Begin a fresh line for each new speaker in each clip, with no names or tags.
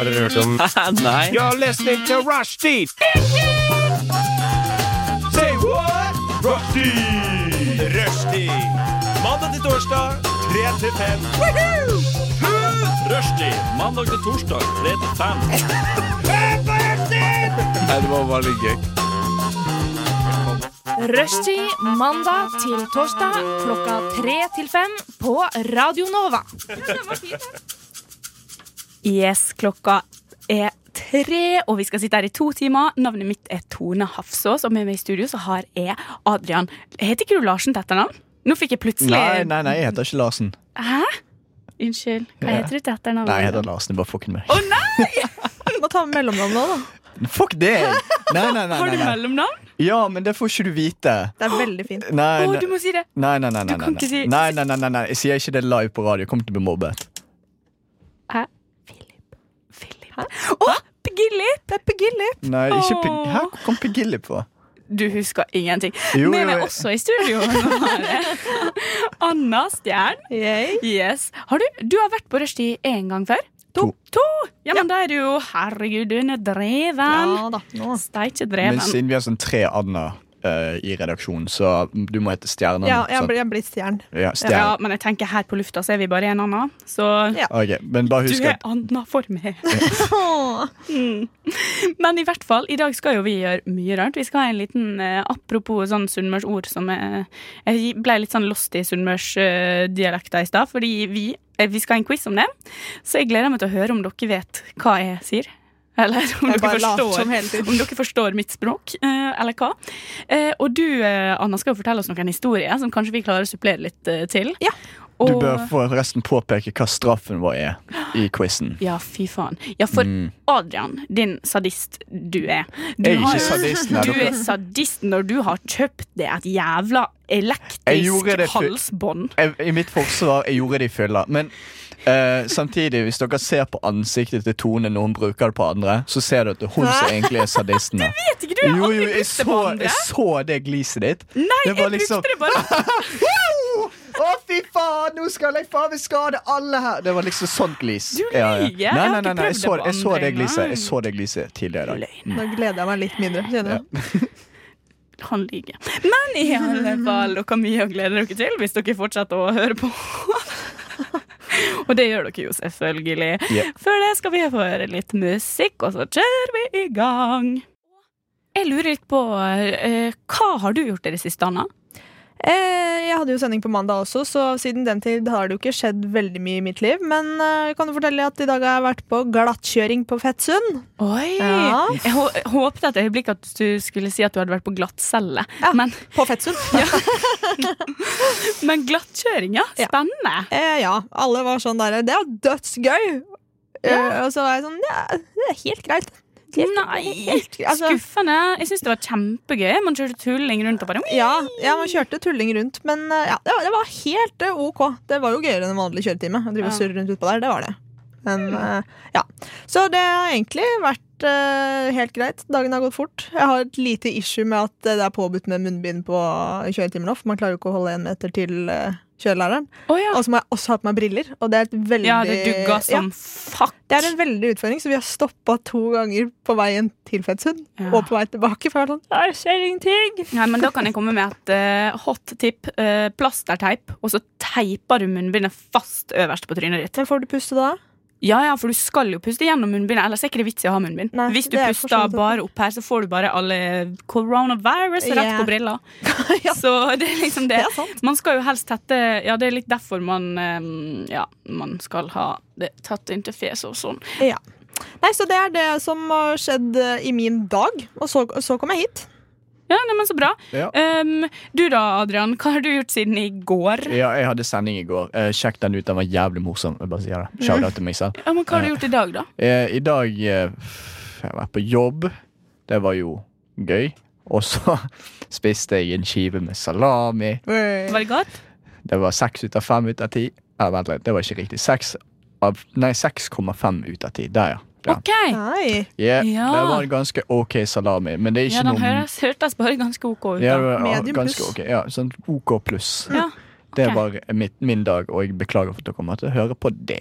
Har dere hørt om
Nei.
You're listening to Rushdie! Say what? Rushdie! Rushdie! Mandag til torsdag, 3 til 5.
Rushtid mandag til torsdag 3 til 5.
Nei, det var bare litt gøy.
Rushtid mandag til torsdag klokka tre til fem på Radio Nova.
Yes, klokka er tre, og vi skal sitte her i to timer. Navnet mitt er Tone Hafsås, og med meg i studio så har jeg Adrian. Heter ikke du Larsen til etternavn? Nå fikk jeg plutselig
Nei, nei, nei, jeg heter ikke Larsen.
Hæ? Unnskyld. Hva
Ja.
heter du til etternavn?
Nei, jeg heter Larsen. Jeg bare fucking meg.
Å nei!
Må ta med mellomnavnet òg, da.
Fuck deg! Nei, nei, nei,
Har
nei,
du
nei.
mellomnavn?
Ja, men det får ikke du vite.
Det er veldig fint.
Å,
Nei,
du
nei,
må si det.
nei, nei, nei,
du
nei,
kan ikke
nei.
si-
Nei, nei, nei, nei, nei. Jeg sier ikke det live på radio. Jeg kommer til å bli mobbet.
Hæ? Philip. Philip. Å, Gillip!
Det er Pegilly.
Nei, ikke Pig...
Åh.
Hæ? Hvor kom Pig Gilly på?
Du husker ingenting.
Jo,
med
jo,
meg
jeg-
også i studio nå har jeg Anna Stjern.
Yay.
Yes. Har du, du har vært på rushtid én gang før?
To.
to. Ja, men da er du jo Herregud, du er dreven.
Ja da. Nå.
Steikje
Men
dreven.
siden vi har sånn tre Adna eh, i redaksjonen, så du må hete Stjernen.
Ja, jeg
sant?
blir, jeg blir stjern.
ja,
ja,
stjernen.
men jeg tenker her på lufta så er vi bare en annen. Så
Ja.
Ok, men bare
du
husk
er
at
Anna for meg.
Åh.
Men i hvert fall, i dag skal jo vi gjøre mye rart. Vi skal ha en liten eh, Apropos sånn sunnmørsord som eh, Jeg ble litt sånn lost i sunnmørsdialekta i stad, fordi vi, eh, vi skal ha en quiz om det. Så jeg gleder meg til å høre om dere vet hva jeg sier. Eller om
Jeg
dere,
bare later
forstår,
som hele tiden.
om dere forstår mitt språk, eh, eller hva. Eh, og du, eh, Anna, skal jo fortelle oss noen historier som kanskje vi klarer å supplere litt eh, til.
Ja.
Og,
du bør forresten påpeke hva straffen vår er i quizen.
Ja, fy faen. Ja, for Adrian, din sadist du er.
Mm.
Du
Jeg er
har-
ikke sadisten.
Du
Er
er
dere.
sadist når du har kjøpt deg et jævla
Jeg gjorde
elektrisk
det for-
halsbånd.
Jeg, I mitt forsvar, jeg gjorde det i fylla. Men eh, samtidig, hvis dere ser på ansiktet til Tone når hun bruker det på andre, så ser du at det er hun som egentlig er sadisten. her.
Vet ikke, du jeg har
Jo,
aldri
jo,
brukt
jeg
det på
så,
andre.
jeg så det gliset ditt.
Nei,
det
jeg
var
brukte
liksom-
det bare.
Wow! Å, fy faen! Nå skal jeg faen meg skade alle her! Det var liksom sånt glis.
Du lyger. Jeg
Nei,
har
nei,
ikke
nei, nei.
prøvd
Jeg så,
det på
jeg så
andre
det gliset
engang.
Jeg så det gliset tidligere i dag.
Løgn.
Nå gleder jeg meg litt mindre. Kjenner du?
Han lyver. Men i alle fall, dere har mye å glede dere til hvis dere fortsetter å høre på. Og det gjør dere jo selvfølgelig.
Ja.
Før det skal vi få høre litt musikk, og så kjører vi i gang. Jeg lurer litt på eh, Hva har du gjort i det siste, Anna?
Eh, jeg hadde jo sending på mandag også, så siden den tid har det jo ikke skjedd veldig mye i mitt liv. Men eh, jeg kan jo fortelle at i dag har jeg vært på glattkjøring på Fettsund.
Oi!
Ja.
Jeg hå- jeg håpet et øyeblikk at du skulle si at du hadde vært på glattcelle.
Ja.
Men,
På Fettsund? Ja.
men glattkjøring, ja.
Ja.
Spennende.
Eh, ja. Alle var sånn derre Det er dødsgøy! Eh, og så var jeg sånn Ja, det er helt greit.
Nei,
Helt greit. Altså,
skuffende. Jeg syns det var kjempegøy. Man kjørte tulling rundt og bare
ja, ja, man kjørte tulling rundt, men eh, ja, det, var, det var helt eh, ok. Det var jo gøyere enn en vanlig kjøretime. Å drive og
Ja.
surre rundt utpå der, det var det. Men, eh, ja. Så det har egentlig vært eh, helt greit. Dagen har gått fort. Jeg har et lite issue med at eh, det er påbudt med munnbind på kjøretimen nå, for man klarer jo ikke å holde én meter til eh, kjørelæreren.
Å ja.
Og så må jeg også ha på meg briller, og det er et veldig
ja, det dugga
Ja,
som fuck.
det er en veldig utfordring, så vi har stoppa to ganger på veien til Fettsund.
Ja.
Og på vei tilbake. For jeg var sånn, «Ja, jeg ser ingenting
Nei, men Da kan jeg komme med et eh, hot tip. Uh, plasterteip, og så teiper du munnbindet fast øverst på trynet ditt.
Men får du puste da?
Ja, ja, for du skal jo puste gjennom munnbindet. Ellers er ikke det vits i å ha munnbind.
Nei,
Hvis du
det er for så
puster
vidt sant.
bare opp her, så får du bare alle coronavirus rett
Ja.
på brilla.
Ja.
Så det er liksom det.
Det er sant.
Man skal jo helst tette Ja, det er litt derfor man eh, Ja, man skal ha det tatt inntil fjeset og sånn.
Nei, så det er det som har skjedd eh, i min dag. Og så, så kom jeg hit.
Ja, nei, men så bra.
Ja.
Ehm, du da, Adrian. Hva har du gjort siden i går?
Ja, jeg hadde sending i går. Eh, sjekk den ut. Den var jævlig morsom. Jeg bare sier det. Shout out til meg selv.
Ja, men hva har du gjort i dag, da?
Eh, I dag eh, Jeg var på jobb. Det var jo gøy. Og så spiste jeg en skive med salami.
Var det godt?
Det var seks ut av fem ut av ti. Eh, vent litt, det var ikke riktig. Seks av Nei, 6,5 ut av ti. Der, ja. ja.
OK.
Nei.
Yeah,
Ja.
Det var en ganske ok salami, men det er ikke
Ja, den
noe
høres, hørtes bare ganske OK ut.
ja, det
da.
var, ja,
Medium
ganske
pluss.
ok. Ja, sånn OK pluss.
Ja.
Det
ok.
var mitt, min dag, og jeg beklager for at dere måtte høre på det.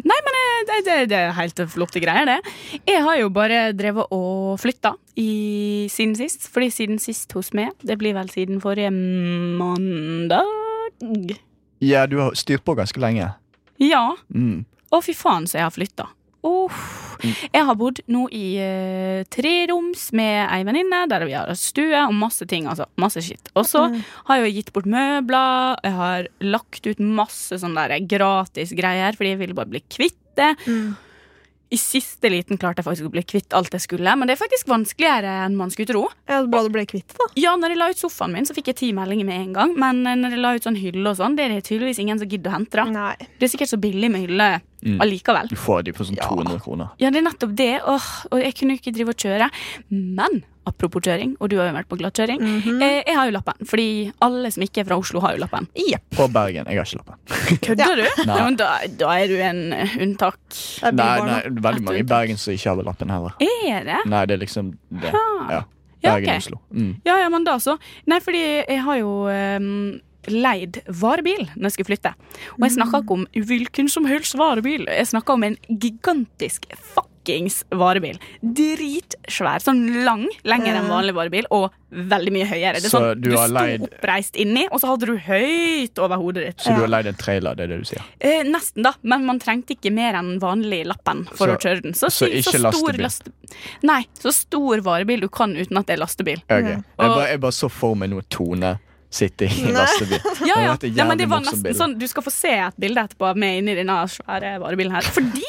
Nei, men eh, det, det, det er helt flotte greier, det. Jeg har jo bare drevet og flytta i, siden sist. Fordi siden sist hos meg, det blir vel siden forrige mandag.
Ja, du har styrt på ganske lenge.
Ja.
Mm.
Å, fy faen, så jeg har flytta. Uff. Jeg har bodd nå i eh, treroms med ei venninne, der vi har stue og masse ting. altså, masse shit. Og så har jeg jo gitt bort møbler, jeg har lagt ut masse sånne der gratis greier, fordi jeg ville bare bli kvitt det.
Mm.
I siste liten klarte jeg faktisk å bli kvitt alt jeg skulle, men det er faktisk vanskeligere enn man skulle tro.
Ja, Bra du ble kvitt det, da.
Ja, når jeg la ut sofaen min, så fikk jeg ti meldinger med en gang, men eh, når jeg la ut sånn hylle og sånn, det er det tydeligvis ingen som gidder å hente. da.
Nei.
Det er sikkert så billig med hylle
Mm.
allikevel.
Du får de for sånn 200 kroner.
Ja, det er nettopp det. Åh, og jeg kunne jo ikke drive og kjøre. Men apropos kjøring, og du har jo vært på glattkjøring. eh, jeg har jo lappen, fordi alle som ikke er fra Oslo, har jo lappen.
Jepp.
På Bergen. Jeg har ikke lappen.
Kødder du?
Nei.
men da, da er du en eh, unntak.
Det er
Nei,
bybarn,
nei,
da.
det er veldig mange i Bergen som ikke har lappen heller.
Er det?
Nei, det er liksom det. Ja.
Ja,
Bergen
ok.
og Oslo. Mm.
Ja, ja, men da så. Nei, fordi jeg har jo ehm, leid varebil når jeg skulle flytte. Og jeg snakka ikke om hvilken som helst varebil. Jeg snakka om en gigantisk fuckings varebil. Dritsvær. Sånn lang, lengre enn vanlig varebil, og veldig mye høyere. Det er
Så
sånn,
du
du
har
sto
leid-
oppreist inni, og så hadde du høyt over hodet ditt.
Så du har leid en trailer, det er det du sier?
Eh, nesten, da. Men man trengte ikke mer enn vanlig lappen for
Så-
å kjøre den. Så,
så
si-
ikke
stor
lastebil.
laste- Nei, så stor varebil du kan uten at det er lastebil.
Ok. Jeg, bare,
Mm. Og-
jeg bare så for meg noe Tone sitte i en lastebil. Det
Ja,
hadde
ja.
vært et
ja men det
jævlig
var
morsomt
nesten
bilde.
sånn Du skal få se et bilde etterpå av meg inni denne svære varebilen her. Fordi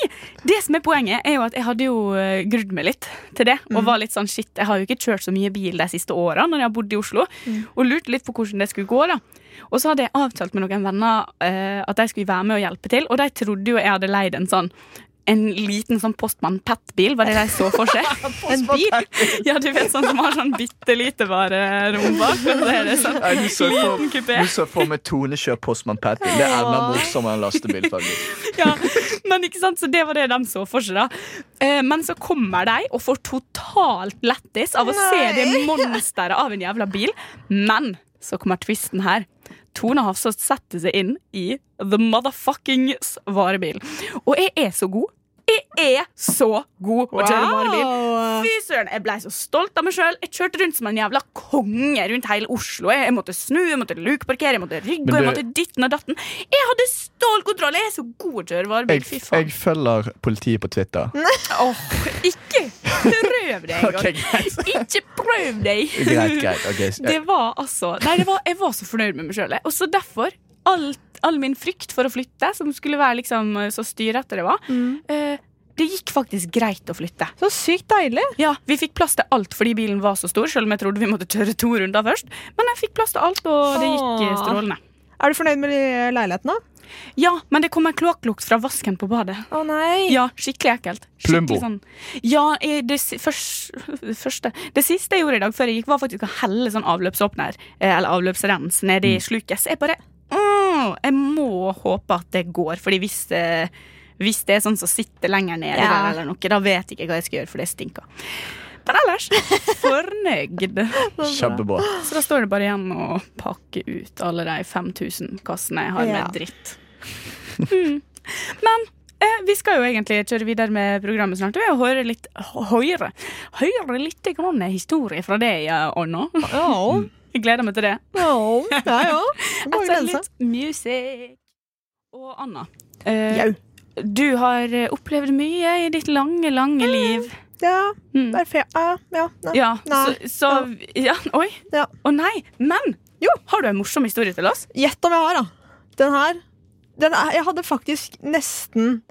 det som er poenget, er jo at jeg hadde jo eh, grudd meg litt til det. Og var litt sånn shit, jeg har jo ikke kjørt så mye bil de siste åra når jeg har bodd i Oslo. Og lurte litt på hvordan det skulle gå, da. Og så hadde jeg avtalt med noen venner eh, at de skulle være med og hjelpe til, og de trodde jo jeg hadde leid en sånn en liten sånn postmann Pat-bil, var det de så for seg. en bil? Ja, du vet sånn som har sånn bitte lite varerom bak. Og så er det sånn
Nei, du så for-
liten kupé.
Du så for meg Tone kjører Postmann Patty. Det er enda morsommere enn lastebil. faktisk
ja, men ikke sant, så det var det de så for seg da. Eh, Men så kommer de og får totalt lettis av å se
Nei.
det monsteret av en jævla bil. Men så kommer twisten her. Tone Hafsås setter seg inn i the motherfuckings varebil. Og jeg er så god. Jeg er så god å kjøre varebil.
Wow.
Fy søren, jeg ble så stolt av meg sjøl. Jeg kjørte rundt som en jævla konge rundt hele Oslo. Jeg, jeg måtte snu, jeg måtte lukeparkere, jeg måtte rygge,
Men
jeg
du-
måtte ditten og datten. Jeg hadde stålkontroll! Jeg er så god til å kjøre
Jeg,
varebil. Fy faen. Mm.
jeg følger politiet på Twitter.
Åh, ikke prøv det engang.
Ok, greit.
Ikke prøv deg.
Greit, greit. ok
Det
jeg,
var altså Nei, det var, jeg var så fornøyd med meg sjøl. Og så derfor alt, All min frykt for å flytte, som skulle være liksom så styrete det var, eh, det gikk faktisk greit å flytte.
Så sykt deilig.
Ja, Vi fikk plass til alt fordi bilen var så stor, selv om jeg trodde vi måtte kjøre to runder først. Men jeg fikk plass til alt, og det gikk eh,
Åh.
strålende.
Er du fornøyd med de leiligheten, da?
Ja, men det kom en kloakklukt fra vasken på badet.
Å nei.
Ja, skikkelig ekkelt.
Plumbo.
Skikkelig Sånn. Ja, eh, det, si- først, første. det siste jeg gjorde i dag før jeg gikk, var faktisk å helle sånn avløpsåpner, eh, eller avløpsrens, ned i sluket. Så jeg bare mm, Jeg må håpe at det går, Fordi hvis det, hvis det er sånn som sitter lenger nede
Ja.
der, eller noe, da vet jeg ikke hva jeg skal gjøre, for det stinker. Men ellers fornøyd.
kjempebra.
Så da står det bare igjen å pakke ut alle de 5000 kassene jeg har
Ja.
med dritt. Mm. Men eh, vi skal jo egentlig kjøre videre med programmet snart. Og jeg hører litt høyere, høyere litt grann historie fra deg, eh, Anna.
Ja.
Jeg gleder meg til det.
Ja, ja. ja. Det er bare å
Etter
glede seg.
litt musikk. Og Anna, eh,
Jau.
du har eh, opplevd mye i ditt lange, lange liv.
Ja,
Mm.
det er fe... Ja, ja. nei.
Ja,
Nei.
så, så ja, Oi. Å
Ja.
nei. Men
Jo.
har du en morsom historie til oss?
Gjett om jeg har, da. Den her den er, Jeg hadde faktisk nesten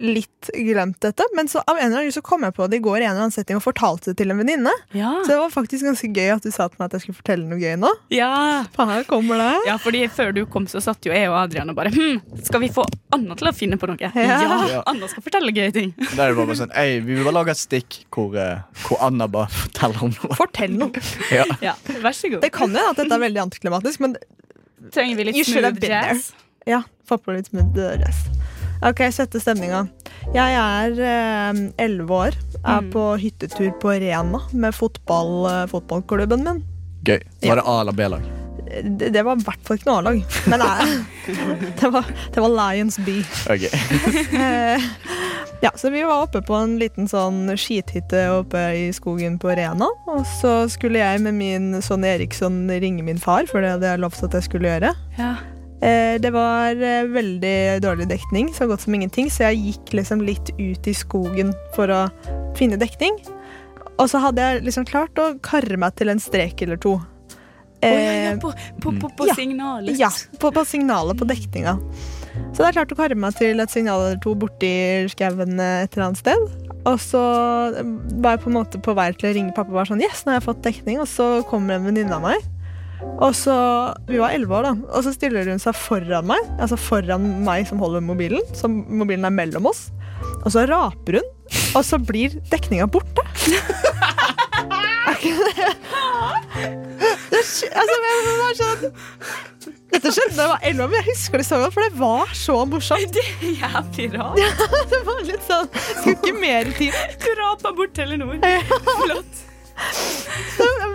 litt glemt dette, men så av en eller annen grunn så kom jeg på det i går i en eller annen setting og fortalte det til en venninne.
Ja.
Så det var faktisk ganske gøy at du sa til meg at jeg skulle fortelle noe gøy nå.
ja.
For her kommer det.
Ja, fordi før du kom så satt jo jeg og Adrian og bare hm, Skal vi få Anna til å finne på noe? Ja,
Ja.
Anna skal fortelle gøye ting.
Da er det bare sånn Ei, vi vil bare lage et stikk hvor, eh, hvor Anna bare forteller om noe.
Fortell noe.
Ja.
Ja, Vær så god.
Det kan jo hende at dette er veldig antiklimatisk, men
Trenger vi litt
You should have
smooth
been there.
jazz?
Ja, få på litt smooth jazz. Ok, sette stemninga. Jeg er eh, elleve år. Er på hyttetur på Rena med fotball, eh, fotballklubben min.
Gøy. Var det A eller B-lag?
Det, det var i hvert fall ikke noe A-lag. Men nei, det var, det var Lions B.
Ok.
Eh, Ja, så vi var oppe på en liten sånn skithytte oppe i skogen på Rena. Og så skulle jeg med min Sonny Eriksson ringe min far, for det hadde jeg lovt at jeg skulle gjøre.
Ja.
Eh, Det var eh, veldig dårlig dekning, så godt som ingenting, så jeg gikk liksom litt ut i skogen for å finne dekning. Og så hadde jeg liksom klart å karre meg til en strek eller to.
Å, ja, ja,
Eh,
på, på, på, på
Ja.
signalet.
ja, på, på signalet på dekninga. Så det er klart å karre meg til et signal eller to borti skauen eh, et eller annet sted. Og så øh, var jeg på en måte på vei til å ringe pappa og var sånn Yes, nå har jeg fått dekning. Og så kommer en venninne av meg. Og så, Vi var elleve år, da. Og så stiller hun seg foran meg, altså foran meg som holder mobilen. Så mobilen er mellom oss. Og så raper hun, og så blir dekninga borte. Er ikke det det skj- altså, jeg var sånn Dette skjedde da jeg var 11 år, men jeg husker det så godt, for det var så morsomt.
Det er jævlig rart.
Det var litt sånn, Skulle ikke mer til.
Du rapa bort Telenor. Flott.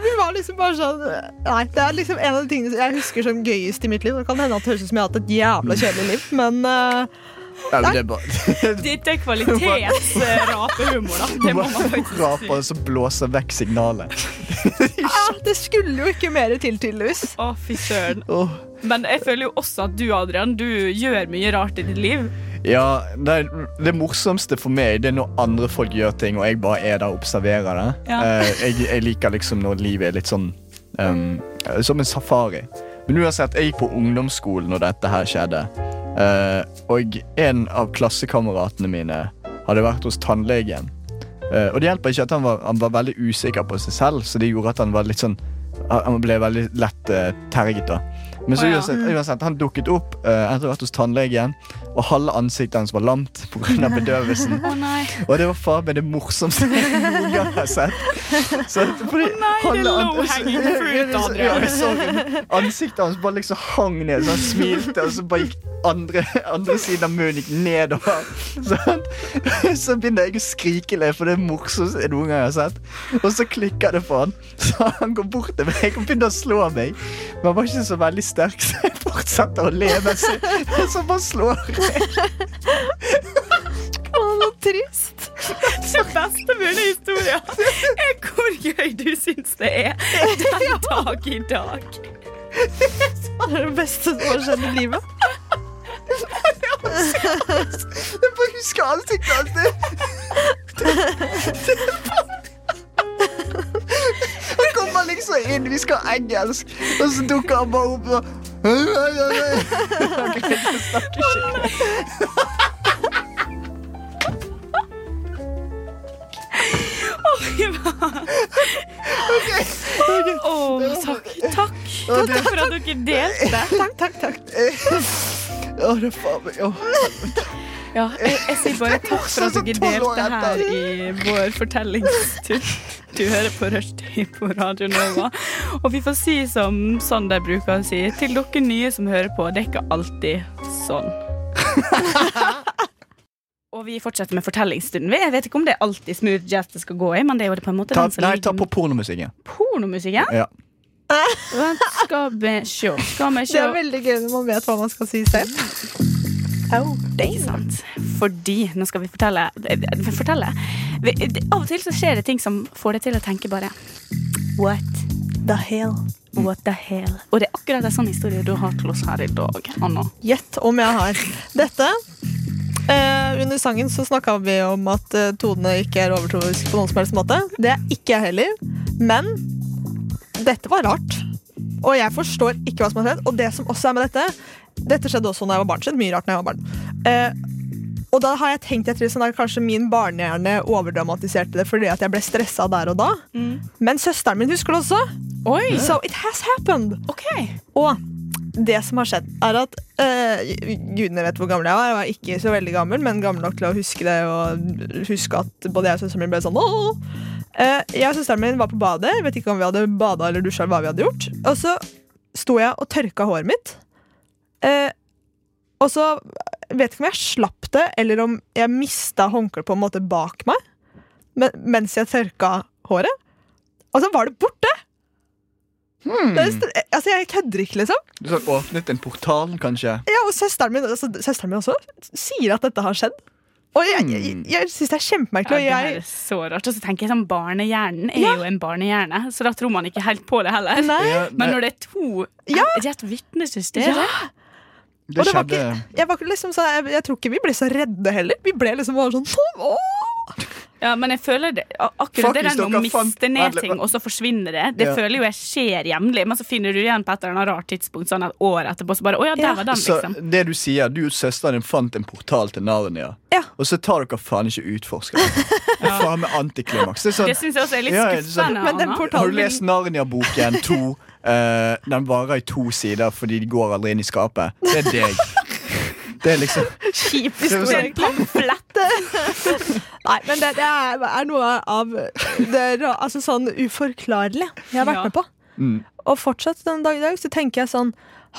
Vi var liksom bare sånn Nei, det er liksom en av de tingene jeg husker som gøyest i mitt liv. Det kan hende at det høres ut som jeg har hatt et jævla kjedelig liv, men eh,
Nei, men det er bare
Dette er kvalitetsrapehumor, da. Det må man faktisk si.
Raper som blåser vekk signalet.
ja, ah, det skulle jo ikke mer til, tydeligvis.
Å, fy søren.
Åh.
Men jeg føler jo også at du, Adrian, du gjør mye rart i ditt liv.
Ja, det, det morsomste for meg Det er når andre folk gjør ting, og jeg bare er der og observerer det.
Ja.
Eh, jeg, jeg liker liksom når livet er litt sånn ehm, eh, Som en safari. Men uansett, jeg gikk på ungdomsskolen når dette her skjedde. Eh, og en av klassekameratene mine hadde vært hos tannlegen. Eh, og det hjelper ikke at han var, han var veldig usikker på seg selv, så det gjorde at han var litt sånn Han ble veldig lett eh, terget, da. Men så
Å, ja.
uansett, uansett, han dukket opp eh, etter å ha vært hos tannlegen, og halve ansiktet hans var lamt pga. bedøvelsen.
Å nei.
Og det var faen meg det morsomste jeg noen gang har sett. Så, fordi,
Nei, det er
halve an-
low hanging fruit,
Ja,
Adrian.
jeg så det. Ansiktet hans bare liksom hang ned, så han smilte, og så bare gikk andre, andre siden av munnen gikk nedover. Så, han, så begynner jeg å skrike litt, for det er morsomst jeg noen gang har sett. Og så klikker det for han, så han går bort til meg og begynner å slå meg. Men han var ikke så veldig sterk, så jeg fortsetter å le mens jeg mens han bare slår.
Å, så trist.
Den beste mulige historien er hvor gøy du syns det er den dag i dag.
Det er det beste som har skjedd i livet.
Jeg bare husker ansiktet hans. Det, det, det, han kommer liksom inn, vi skal ha engelsk, og så dukker han bare opp og Han greide ikke å snakke skikkelig.
Å, takk. Takk
Og det-
for at dere delte.
Takk, takk, takk.
Å, det er faen meg åh.
Ja, jeg, jeg sier bare takk for at dere delte her i vår fortellingstur. Du hører på Rushtid på Radio Nova. Og vi får si som Sander bruker å si, til dere nye som hører på, det er ikke alltid sånn. Og vi fortsetter med fortellingsstunden. vi. Jeg vet ikke om det er alltid smooth jazz det skal gå i, men det er liksom- jo det på en måte
Ta,
den som
nei,
ligger
ta på pornomusikken.
pornomusikken.
Ja.
Vent, Skal vi sjå, skal vi
Det
sjå.
er veldig gøy når man vet hva man skal si selv. Au.
Ikke Oh, sant? Fordi Nå skal vi fortelle. eh, fortelle. Vi- det- Av og til så skjer det ting som får deg til å tenke bare What?
The hell.
What the hell? Og det er akkurat en sånn historie du har til oss her i dag, Anna.
Gjett om jeg har dette. Eh, under sangen så snakka vi om at eh, tonene ikke er overtroiske på noen som helst måte. Det er ikke jeg heller. Men dette var rart. Og jeg forstår ikke hva som har skjedd. Og det som også er med dette Dette skjedde også da jeg var barn. Skjedde mye rart når jeg var barn. Eh, og da har jeg tenkt jeg tror, sånn at kanskje min barnehjerne overdramatiserte det fordi at jeg ble stressa der og da. Men søsteren min husker det også.
Mm. Oi!
So it has happened.
OK.
Og det som har skjedd, er at eh, Gudene vet hvor gammel jeg var. Jeg var ikke så veldig gammel, men gammel nok til å huske det. Og huske at både jeg og søsteren min ble sånn Åh! Eh, Jeg og søsteren min var på badet. Jeg vet ikke om vi hadde bada eller dusja. eller hva vi hadde gjort Og så sto jeg og tørka håret mitt. Eh, og så vet ikke om jeg slapp det, eller om jeg mista håndkleet på en måte bak meg men, mens jeg tørka håret. Og så var det borte! Det er stre- altså, jeg kødder ikke, liksom.
Du sånn, åpnet en portal, kanskje.
Ja, og søsteren min, altså, søsteren min også sier at dette har skjedd. Og jeg, jeg, jeg, synes det er kjempemerkelig.
Ja,
og
det her
jeg,
er så rart. Og så tenker jeg sånn, Barnehjernen er jo en barnehjerne, så da tror man ikke helt på det heller.
Nei.
Ja,
Men
nei,
når det er to
Ja.
Er det et vitnesystem?
Ja.
det
og det var
skjedde
jeg, var liksom sånn, jeg, jeg tror ikke vi ble så redde heller. Vi ble liksom bare sånn Åh!
Ja, men jeg føler det a-
Fuck,
akkurat det
hvis
der med å
dere fant-
miste
Vent
ned
litt,
ting,
vent.
og så forsvinner det. Det
Ja.
føler jo jeg skjer jevnlig, men så finner du igjen på et eller annet rart tidspunkt, sånn et år etterpå, så bare Å ja, der
Ja.
var den,
Så
liksom.
det du sier, du og søsteren din fant en portal til Narnia,
Ja.
og så tar dere faen ikke utforsker. Det er faen meg antiklimaks. Det er
Det
sånn,
syns jeg også er litt
Ja, ja, det er sånn-
skuffende.
Men den
Anna.
portalen
har du lest Narnia-boken to? Eh, den varer i to sider fordi de går aldri inn i skapet. Det er deg. Det er liksom
Kjip
Det
historie.
var
En pamflett.
Nei, men det, det er, er noe av det ra- altså sånn uforklarlig jeg har vært
Ja.
med på.
Mm.
Og fortsatt den dag i dag så tenker jeg sånn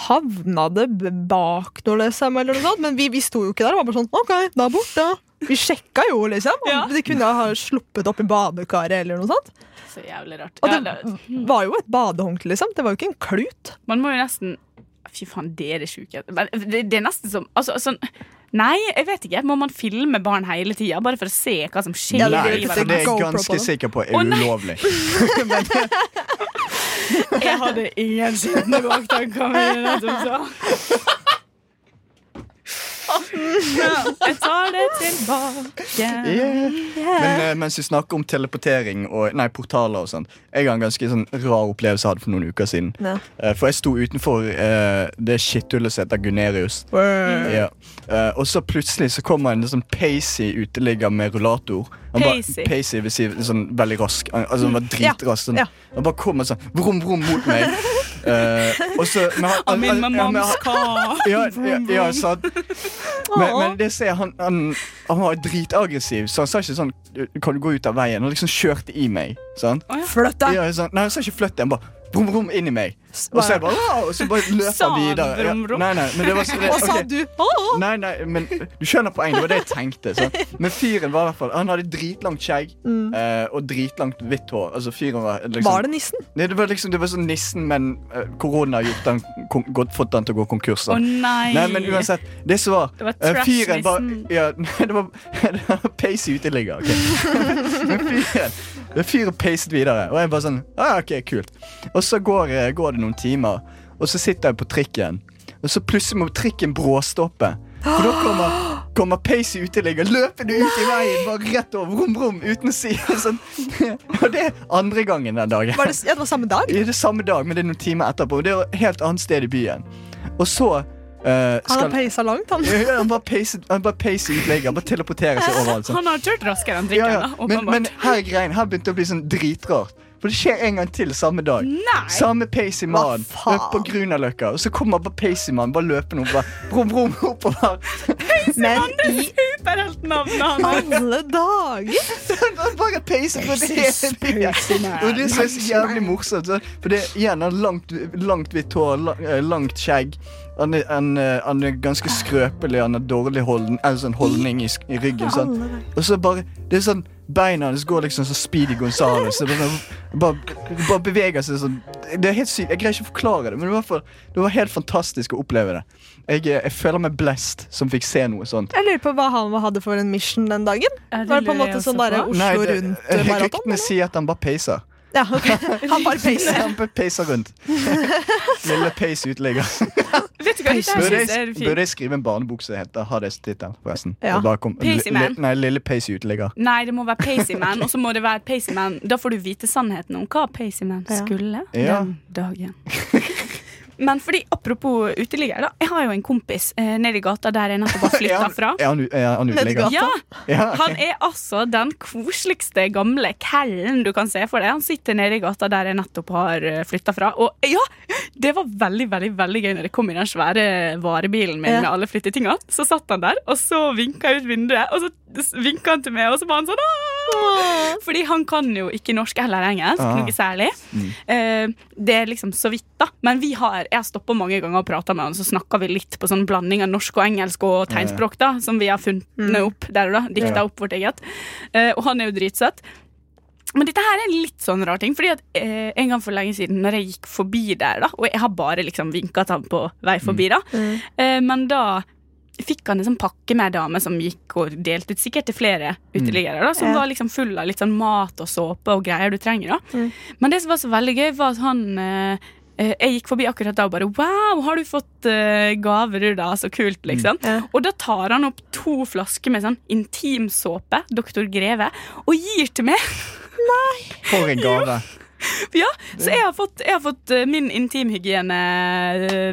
Havna det b- bak noe, liksom? Eller noe sånt? Men vi, vi sto jo ikke der. Det var bare sånn OK, da bort, da. Vi sjekka jo, liksom. Om
Ja.
de kunne ha sluppet opp i badekaret eller noe sånt.
Så jævlig rart.
Og
Ja,
det
det,
Mm. var jo et badehåndkle, liksom. Det var jo ikke en klut.
man må jo nesten Fy faen, dere er sjuke. Men Det, det er nesten som altså, sånn, Nei, jeg vet ikke. Må man filme barn hele tida bare for å se hva som skjer?
Ja,
i
det er
Nei,
jo
livet
for det er
GoPro
jeg
på
ganske
den.
sikker på er
Å, nei.
ulovlig.
Jeg hadde ingen skitne baktanker med det som sa. Jeg tar det tilbake.
Yeah. Men eh, mens vi snakker om teleportering og nei, portaler og sånn Jeg har en ganske sånn rar opplevelse jeg hadde for noen uker siden.
Ja.
Eh, for jeg sto utenfor eh, det skitthullet som heter Gunerius. Ja. Eh, og så plutselig så kommer en sånn Pacey uteligger med rullator. Han bare-
Pacey?
Pacey vil si sånn veldig rask. Han, altså, han var dritrask. Sånn.
Mm. ja.
Han bare kommer sånn vrom, vrom mot meg. Eh, og så men han-
I'm in my
ja, men
mom's
han-
car.
ja, ja, ja, sant. Men, men det ser jeg, han, han, han var dritaggressiv, så han sa ikke sånn Kan du gå ut av veien? Han liksom kjørte i meg. Sant?
Flytt deg!
Ja, sånn, nei, han sa ikke flytt deg, han bare Brum, brum, inn i meg. Og så, jeg bare, «Wow!» og så bare løp
Sa
han
han
videre. Ja,
brum, brum?
nei, nei, men det var så, det,
Og sa
ok.
du «Åh!»
Nei, nei, men du skjønner poenget. Det var det jeg tenkte. Sant? Men fyren var i hvert fall Han hadde dritlangt skjegg eh, og dritlangt hvitt hår. Altså fyren var liksom
Var det nissen?
Nei, det var liksom Det var sånn nissen, men eh, korona har gjort han, kon, godt fått han til å gå konkurs.
Å
sant?
nei.
Nei, men uansett, det som var,
Det
eh,
var trash,
Fyren var
liksom.
ja, nei, Det var, det var peis uteligger. ok. Men fyren det Fyren peiset videre, og jeg bare sånn ah, OK, kult. Og så går, eh, går det noen timer, og så sitter jeg på trikken, og så plutselig må trikken bråstoppe. For da kommer, kommer Pacey uteligger løpende ut i veien, bare rett over rom, rom, uten å si sånn. Og det er andre gangen den dagen.
Var det, ja, det var samme dag.
Det er det samme dag, men det er noen timer etterpå. og Det er et helt annet sted i byen. Og så eh,
Han har
skal
peisa langt, han.
ja, Han bare peiser han bare peiser utlegger. Han bare teleporterer seg overalt. sånn.
Han har kjørt raskere
Ja,
enn drikken,
ja.
da,
Men, men
åpenbart.
her er greien. Her begynte det å bli sånn dritrart. For det skjer en gang til samme dag.
Nei.
Samme Pacey mann
faen?
på Grünerløkka. Og så kommer bare Pacey mann bare løpende opp, bare, brum, brum, oppover.
Men i
Superheltnavnet han har.
alle dager!
Han bare peiser på det hele byen. Og det som er så jævlig morsomt. så- For det er igjen han har langt, langt hvitt hår, la- eh, langt skjegg. Han er, han, er- han er ganske skrøpelig, han har dårlig holden, eller sånn holdning i, sk- i ryggen. Sånn. Og så bare Det er sånn Beina hans går liksom som Speedy Gonzales. Det Bare, bare, bare beveger seg sånn. Det er helt sykt. Jeg greier ikke å forklare det, men i hvert fall, det var helt fantastisk å oppleve det. Jeg, eh, jeg føler meg blessed som fikk se noe sånt.
Jeg lurer på hva han hadde for en mission den dagen. Var det på en måte sånn der Oslo eh,
Nei, det- ryktene
Rundt-maraton?
sier at han bare peiser.
Ja, ok. Han bare peiser.
Han bare peiser rundt. Lille peis uteligger.
Vet du hva, dette her
Burde
synes jeg
jeg,
er
burde
fint.
jeg skrive en barnebok som heter Har det som tittel, forresten?
Ja.
Og bare kom-
Pacey Man.
Li- Nei, Lille peis uteligger.
Nei, det må være Pacey Man, og så må det være Pacey Man. Da får du vite sannheten om hva Pacey Man
Ja.
skulle
Ja.
den dagen. Men fordi, apropos uteligger, da. Jeg har jo en kompis eh, nede i gata der jeg nettopp har
Er
flytta
han-
fra.
Er han, u- er han uteligger?
Ja,
Ja, ok.
Han er altså den koseligste gamle kellen du kan se for deg. Han sitter nede i gata der jeg nettopp har flytta fra. Og ja, det var veldig veldig, veldig gøy når jeg kom i den svære varebilen min
Ja.
med alle flyttetinga. Så satt han der, og så vinka jeg ut vinduet, og så vinka han til meg, og så var han sånn Åh! Fordi han kan jo ikke norsk eller engelsk,
Ah.
noe særlig. Eh, det er liksom så vidt, da. Men vi har, jeg har stoppa mange ganger og prata med han, så snakka vi litt på sånn blanding av norsk og engelsk og tegnspråk, da,
Mm.
som vi har funnet opp der og da. Dikta
Ja.
opp vårt eget. Eh, og han er jo dritsøt. Men dette her er en litt sånn rar ting, fordi at eh, en gang for lenge siden når jeg gikk forbi der, da, og jeg har bare liksom vinka til han på vei forbi, da,
Mm.
eh, men da fikk han en sånn pakke med ei dame som gikk og delte ut sikkert til flere
Mm.
uteliggere, da, som
Ja.
var liksom full av litt sånn mat og såpe og greier du trenger, da.
Mm.
Men det som var så veldig gøy, var at han eh, eh, jeg gikk forbi akkurat da og bare Wow, har du fått eh, gaver, du, da? Så kult, liksom.
Mm, Ja.
Og da tar han opp to flasker med sånn intimsåpe, Dr. Greve, og gir til meg.
For en gave.
Ja, så jeg har fått, jeg har fått eh, min intimhygiene eh,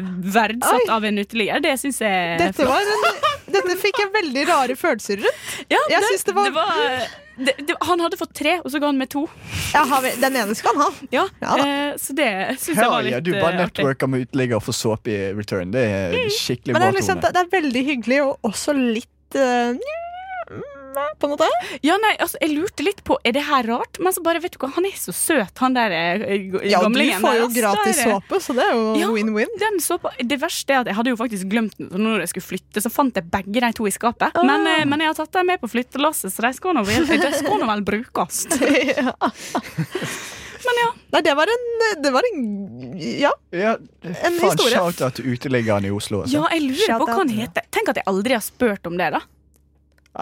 Oi.
verdsatt av en uteligger. Det syns jeg er
Dette, var en, dette fikk jeg veldig rare følelser rundt.
Ja,
jeg synes det var-
det, det, Han hadde fått tre, og så ga han meg to.
Ja, har vi- den ene skal han ha.
Ja,
Ja da.
eh, Så det syns jeg var
Hell
litt
yeah, du
eh,
bare
artig.
networker med uteligger og får såpe i return. Det er skikkelig
Men
bra
det er, liksom,
tone.
det er veldig hyggelig, og også litt eh, på en måte.
Ja, nei, altså, jeg lurte litt på Er det her rart, men så bare, vet du hva, han er så søt, han der eh, g-
Ja, og du
gamlingen.
får jo
der, ass.
gratis
Der er-
såpe, så det er
Ja.
jo win-win.
Den såpa, det verste er at jeg hadde jo faktisk glemt den, så når jeg skulle flytte, så fant jeg begge de to i skapet.
Ah.
Men, eh, men jeg har tatt dem med på flyttelasset, så de skal nå vel, de skal nå vel brukes.
ja.
Men ja.
Nei, det var en, det var en Ja.
Ja,
En
faen,
historie.
shout-out til uteliggeren i Oslo. Altså.
Ja,
Ja.
jeg lurer på
Shout
hva han
out.
heter. Tenk at jeg aldri har spurt om det, da.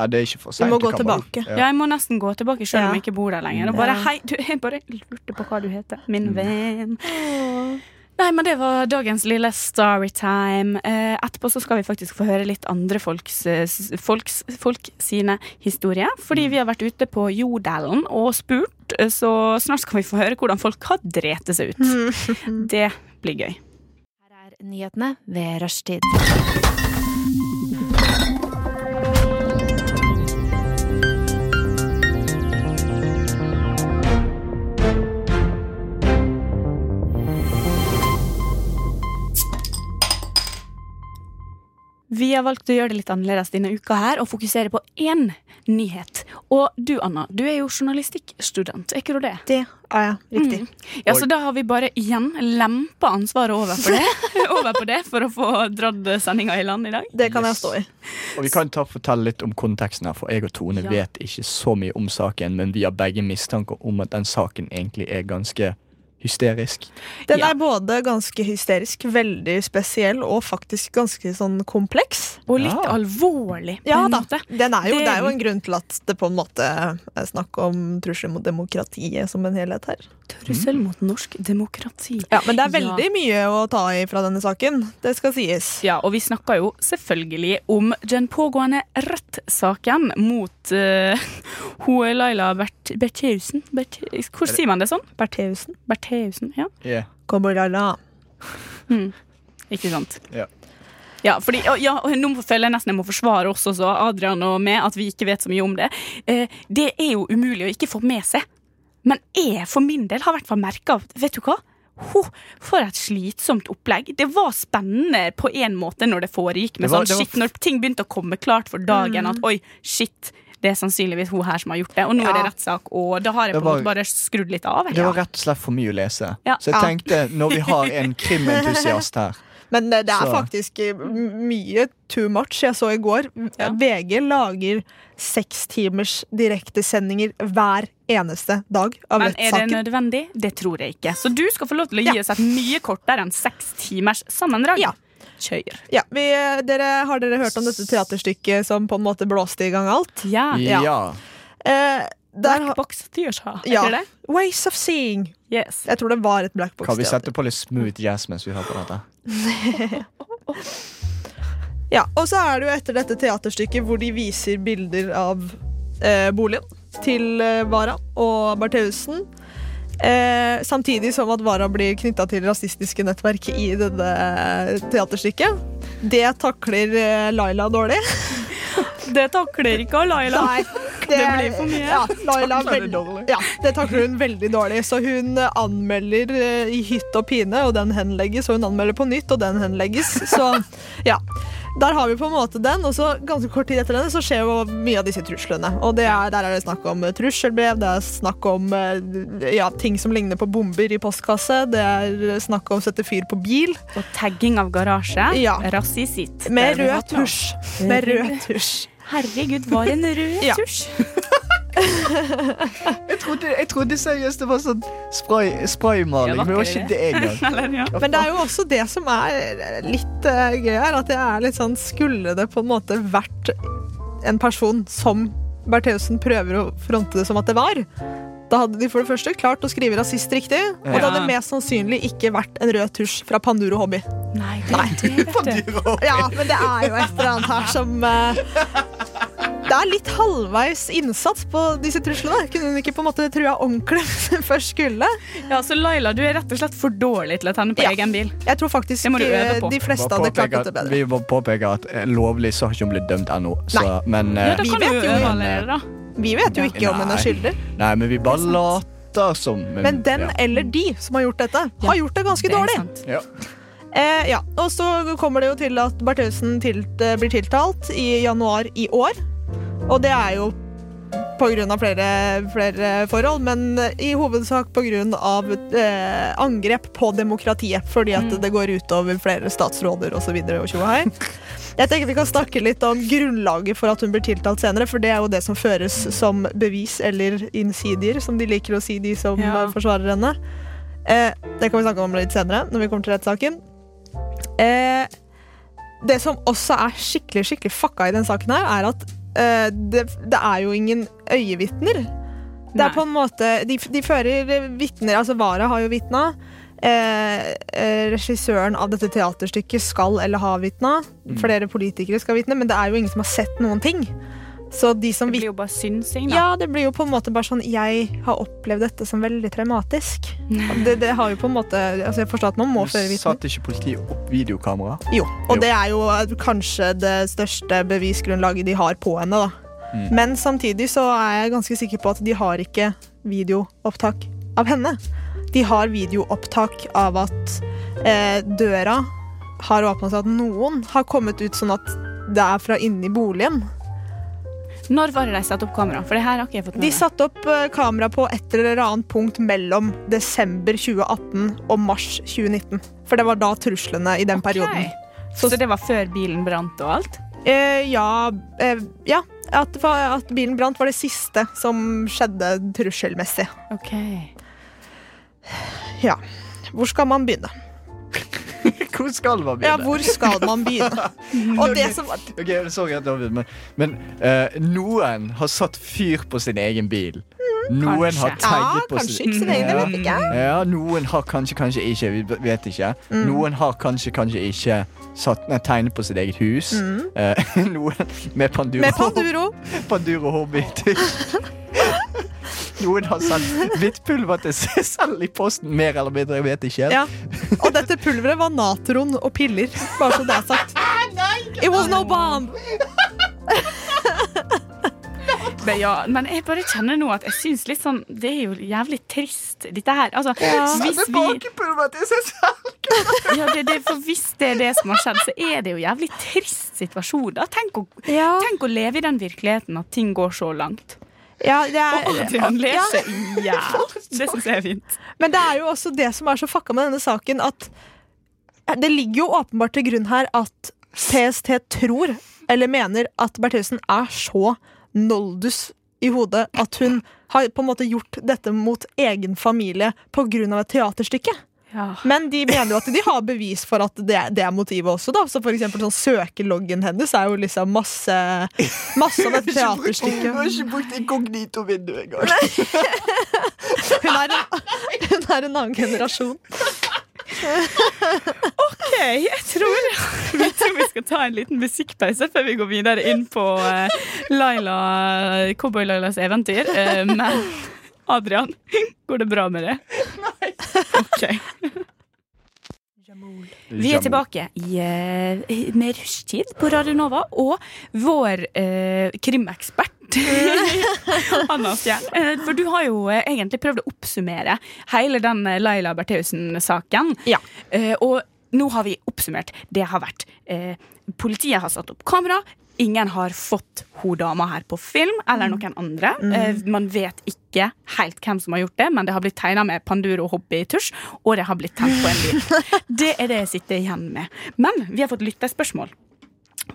det er ikke for
Du
sent.
må gå
kan
tilbake.
Bare, ja.
Ja, jeg må nesten gå tilbake selv om jeg ikke bor der lenger. Og bare,
Ja.
hei, du, jeg bare lurte på hva du heter. Min venn. Nei, men det var dagens lille storytime. Eh, etterpå så skal vi faktisk få høre litt andre folks, eh, s- folks folk sine historier. Fordi vi har vært ute på Jodalen og spurt, eh, så snart skal vi få høre hvordan folk har drept seg ut. Det blir gøy.
Her er nyhetene ved rushtid.
Vi har valgt å gjøre det litt annerledes denne uka her og fokusere på én nyhet. Og du, Anna, du er jo journalistikkstudent, er ikke du det?
Det er jeg. Riktig.
Ja,
Og-
så da har vi bare igjen lempa ansvaret over på det, over på det for å få dratt sendinga i land i dag.
Det kan jeg stå i.
Og vi kan ta fortelle litt om konteksten her, for jeg og Tone
Ja.
vet ikke så mye om saken, men vi har begge mistanker om at den saken egentlig er ganske hysterisk.
Den
Ja.
er både ganske hysterisk, veldig spesiell og faktisk ganske sånn kompleks.
Og litt
Ja.
alvorlig. på
Ja
en
da.
måte.
Den er jo,
Det-
det er jo en grunn til at det på en måte er snakk om trusler mot demokratiet som en helhet her.
Trussel mot norsk demokrati.
Ja, Men det er
Ja.
veldig mye å ta i fra denne saken. Det skal sies.
Ja, og vi snakker jo selvfølgelig om den pågående rettssaken mot uh, hun Laila Bert Bertheussen. Bert Hvor sier man det sånn?
Bertheussen.
Bertheussen, ja.
Ja.
Kobolala.
Ikke sant?
Ja.
Ja, fordi, og, ja, og nå føler jeg nesten jeg må forsvare oss også, Adrian og meg, at vi ikke vet så mye om det. Eh, det er jo umulig å ikke få med seg. Men jeg for min del har i hvert fall merka Vet du hva? Ho, for et slitsomt opplegg. Det var spennende på en måte når det foregikk,
Det
men
var-
sånn,
det var
shit, når ting begynte å komme klart for dagen, at oi, shit. Det er sannsynligvis hun her som har gjort det, og nå er det
Ja.
rettssak. Og da har jeg
Det
på en måte
var-
bare skrudd litt av. jeg.
Det var rett og slett for mye å lese.
Ja.
Så jeg
Ja.
tenkte, når vi har en krimentusiast her
Men det, det er
Så-
faktisk eh, m- mye too much. Jeg så i går
Ja.
VG lager seks timers direktesendinger hver eneste dag av
Men er det
rettssaken.
nødvendig? Det tror jeg ikke. Så du skal få lov til å gi
Ja.
oss et mye kortere enn seks timers sammendrag.
Ja.
Kjør.
Ja, vi, eh, dere, har dere hørt om dette teaterstykket som på en måte blåste i gang alt?
Ja.
Ja.
Ja.
Eh, der,
Black
ha-
box theater, er
Ja.
ikke det?
Ways of Seeing.
Yes.
Jeg tror det var et Black
Kan vi sette
Box-teater.
på litt smooth jazz mens vi hører på dette?
Ja, og så er det jo etter dette teaterstykket hvor de viser bilder av eh, boligen til eh, Vara og Bertheussen. Eh, samtidig som at Vara blir knytta til rasistiske nettverk i dette teaterstykket. Det takler eh, Laila dårlig.
Det takler ikke Laila.
Nei,
Det blir for mye.
Ja, Laila
Takler det
veld-
dårlig.
Ja, det takler hun veldig dårlig. Så hun eh, anmelder eh, i hytt og pine, og den henlegges. Og hun anmelder på nytt, og den henlegges. Så ja. Der har vi på en måte den, og så ganske kort tid etter den så skjer jo mye av disse truslene. Og det er, der er det snakk om eh, trusselbrev, det er snakk om eh, ja, ting som ligner på bomber i postkasse, det er snakk om å sette fyr på bil
Og tagging av garasje.
Ja.
Rasisitt.
med
Det har vi
rød
hatt nå.
tusj. Med rød tusj.
Herregud, var en rød
Ja.
tusj.
Jeg trodde, jeg trodde seriøst det var sånn spray, spraymaling,
Ja,
men det var
vakker
ikke det engang.
Eller, ja.
Men det er jo også det som er litt eh, gøy her, at det er litt sånn Skulle det på en måte vært en person som Bertheussen prøver å fronte det som at det var, da hadde de for det første klart å skrive rasist riktig, og det
Ja.
hadde mest sannsynlig ikke vært en rød tusj fra Panduro Hobby.
Nei, det er det, vet du.
Ja, men det er jo et eller annet her som eh, Det er litt halvveis innsats på disse truslene. Kunne hun ikke på en måte trua ordentlig hvis hun først skulle?
Ja, så Laila, du er rett og slett for dårlig til å tenne på
Ja.
egen bil.
Jeg tror faktisk
Det må du øve
eh,
på.
de fleste
Bare
hadde klart
påpeke
dette
at-
bedre.
Vi må påpeke at eh, lovlig så har ikke hun blitt dømt ennå. Så, men, eh,
Ja, da
vi
kan du
vet
jo
jo
øve
en,
allerede, da.
Vi vet jo ikke om hun er
Nei.
skyldig.
nei, men vi bare later som.
Men den
ja.
eller de som har gjort dette, har gjort det ganske
Det er
dårlig.
sant.
Ja.
Eh, ja. Og så kommer det jo til at Bertheussen til, eh, blir tiltalt i januar i år. Og det er jo på grunn av flere, flere forhold, men i hovedsak på grunn av eh, angrep på demokratiet. Fordi at det går utover flere statsråder osv. og tjo og hei. Jeg tenker Vi kan snakke litt om grunnlaget for at hun blir tiltalt senere. For det er jo det som føres som bevis, eller insidier, som de liker å si, de som
Ja.
eh, forsvarer henne. Eh, det kan vi snakke om litt senere, når vi kommer til rettssaken. Eh, det som også er skikkelig skikkelig fucka i den saken her, er at eh, det, det er jo ingen øyevitner. Det
Nei.
er på en måte De, de fører vitner Altså, Vara har jo vitna. Eh, eh, regissøren av dette teaterstykket skal eller har vitna.
Mm.
Flere politikere skal vitne, men det er jo ingen som har sett noen ting. Så de som
Det
vitner
blir jo bare synsing, da.
ja, det blir jo på en måte bare sånn Jeg har opplevd dette som veldig traumatisk. Det, det har jo på en måte Altså, jeg forstår at man må føre vitne.
Satt ikke politiet opp videokamera? Jo.
Jo, og det er jo eh, kanskje det største bevisgrunnlaget de har på henne, da. Men samtidig så er jeg ganske sikker på at de har ikke videoopptak av henne. De har videoopptak av at eh, døra har åpna seg, at noen har kommet ut sånn at det er fra inni boligen.
Når var det de satte opp kamera? For det her har ikke jeg fått med
De
meg.
satte opp eh, kamera på et eller annet punkt mellom desember 2018 og mars 2019. For det var da truslene i den perioden.
Ok. Så, det var før bilen brant og alt?
Eh, ja, eh, ja at, det var- at bilen brant var det siste som skjedde trusselmessig.
Ok.
Ja. Hvor skal man begynne?
Hvor skal man
Ja,
begynne?
hvor skal man begynne? Og det som
Ok, sorry at jeg avbryter, men, men eh, noen har satt fyr på sin egen bil. Noen har
Ja,
Kanskje.
tagget på
Mm. kanskje ikke sin egen, det vet ikke jeg. Mm.
Ja, noen har kanskje, kanskje ikke. Vi b- vet ikke. Noen har kanskje, kanskje ikke satt nei, tegnet på sitt eget hus. Eh, noen med panduro,
Mm. Med Panduro.
panduro hobby. noen har sendt hvitt pulver til seg selv i posten, mer eller mindre. Jeg vet ikke.
Ja. Og dette pulveret var natron og piller, bare så det er sagt. It was no bomb!
Men, ja, men jeg bare kjenner nå at jeg syns litt sånn Det er jo jævlig trist, dette her. Altså, hvis vi
bakepulver til seg selv!
ja, det, det, For hvis det er det som har skjedd, så er det jo jævlig trist situasjon, da. Tenk å, tenk å leve i den virkeligheten at ting går så langt.
Ja, det er,
Adrian ler
Ja.
seg i hjel. Det syns jeg er fint.
Men det er jo også det som er så fucka med denne saken, at det ligger jo åpenbart til grunn her at PST tror, eller mener, at Bertheussen er så noldus i hodet at hun har på en måte gjort dette mot egen familie på grunn av et teaterstykke.
Ja.
Men de mener jo at de har bevis for at det, det er motivet også, da. Så for eksempel sånn søkeloggen hennes er jo liksom masse, masse av dette teaterstykket.
har ikke brukt inkognito-vindu engang.
Hun er en, hun er en annen generasjon.
Ok, jeg tror, jeg tror vi skal ta en liten musikkpause før vi går videre inn på eh, Laila, Cowboy-Lailas eventyr. Eh, men Adrian, går det bra med det? Nei. Ok. Vi er tilbake i, eh, med rushtid på Radio Nova og vår eh, krimekspert. Anna Stjern. Eh, For du har jo eh, egentlig prøvd å oppsummere hele den eh, Laila Bertheussen-saken.
Ja.
Eh, og nå har vi oppsummert. Det har vært eh, Politiet har satt opp kamera. Ingen har fått hun dama her på film, eller noen andre. Eh, man vet ikke helt hvem som har gjort det, men det har blitt tegna med Panduro hobbytusj, og det har blitt tent på en bil. Det er det jeg sitter igjen med. Men vi har fått lyttespørsmål.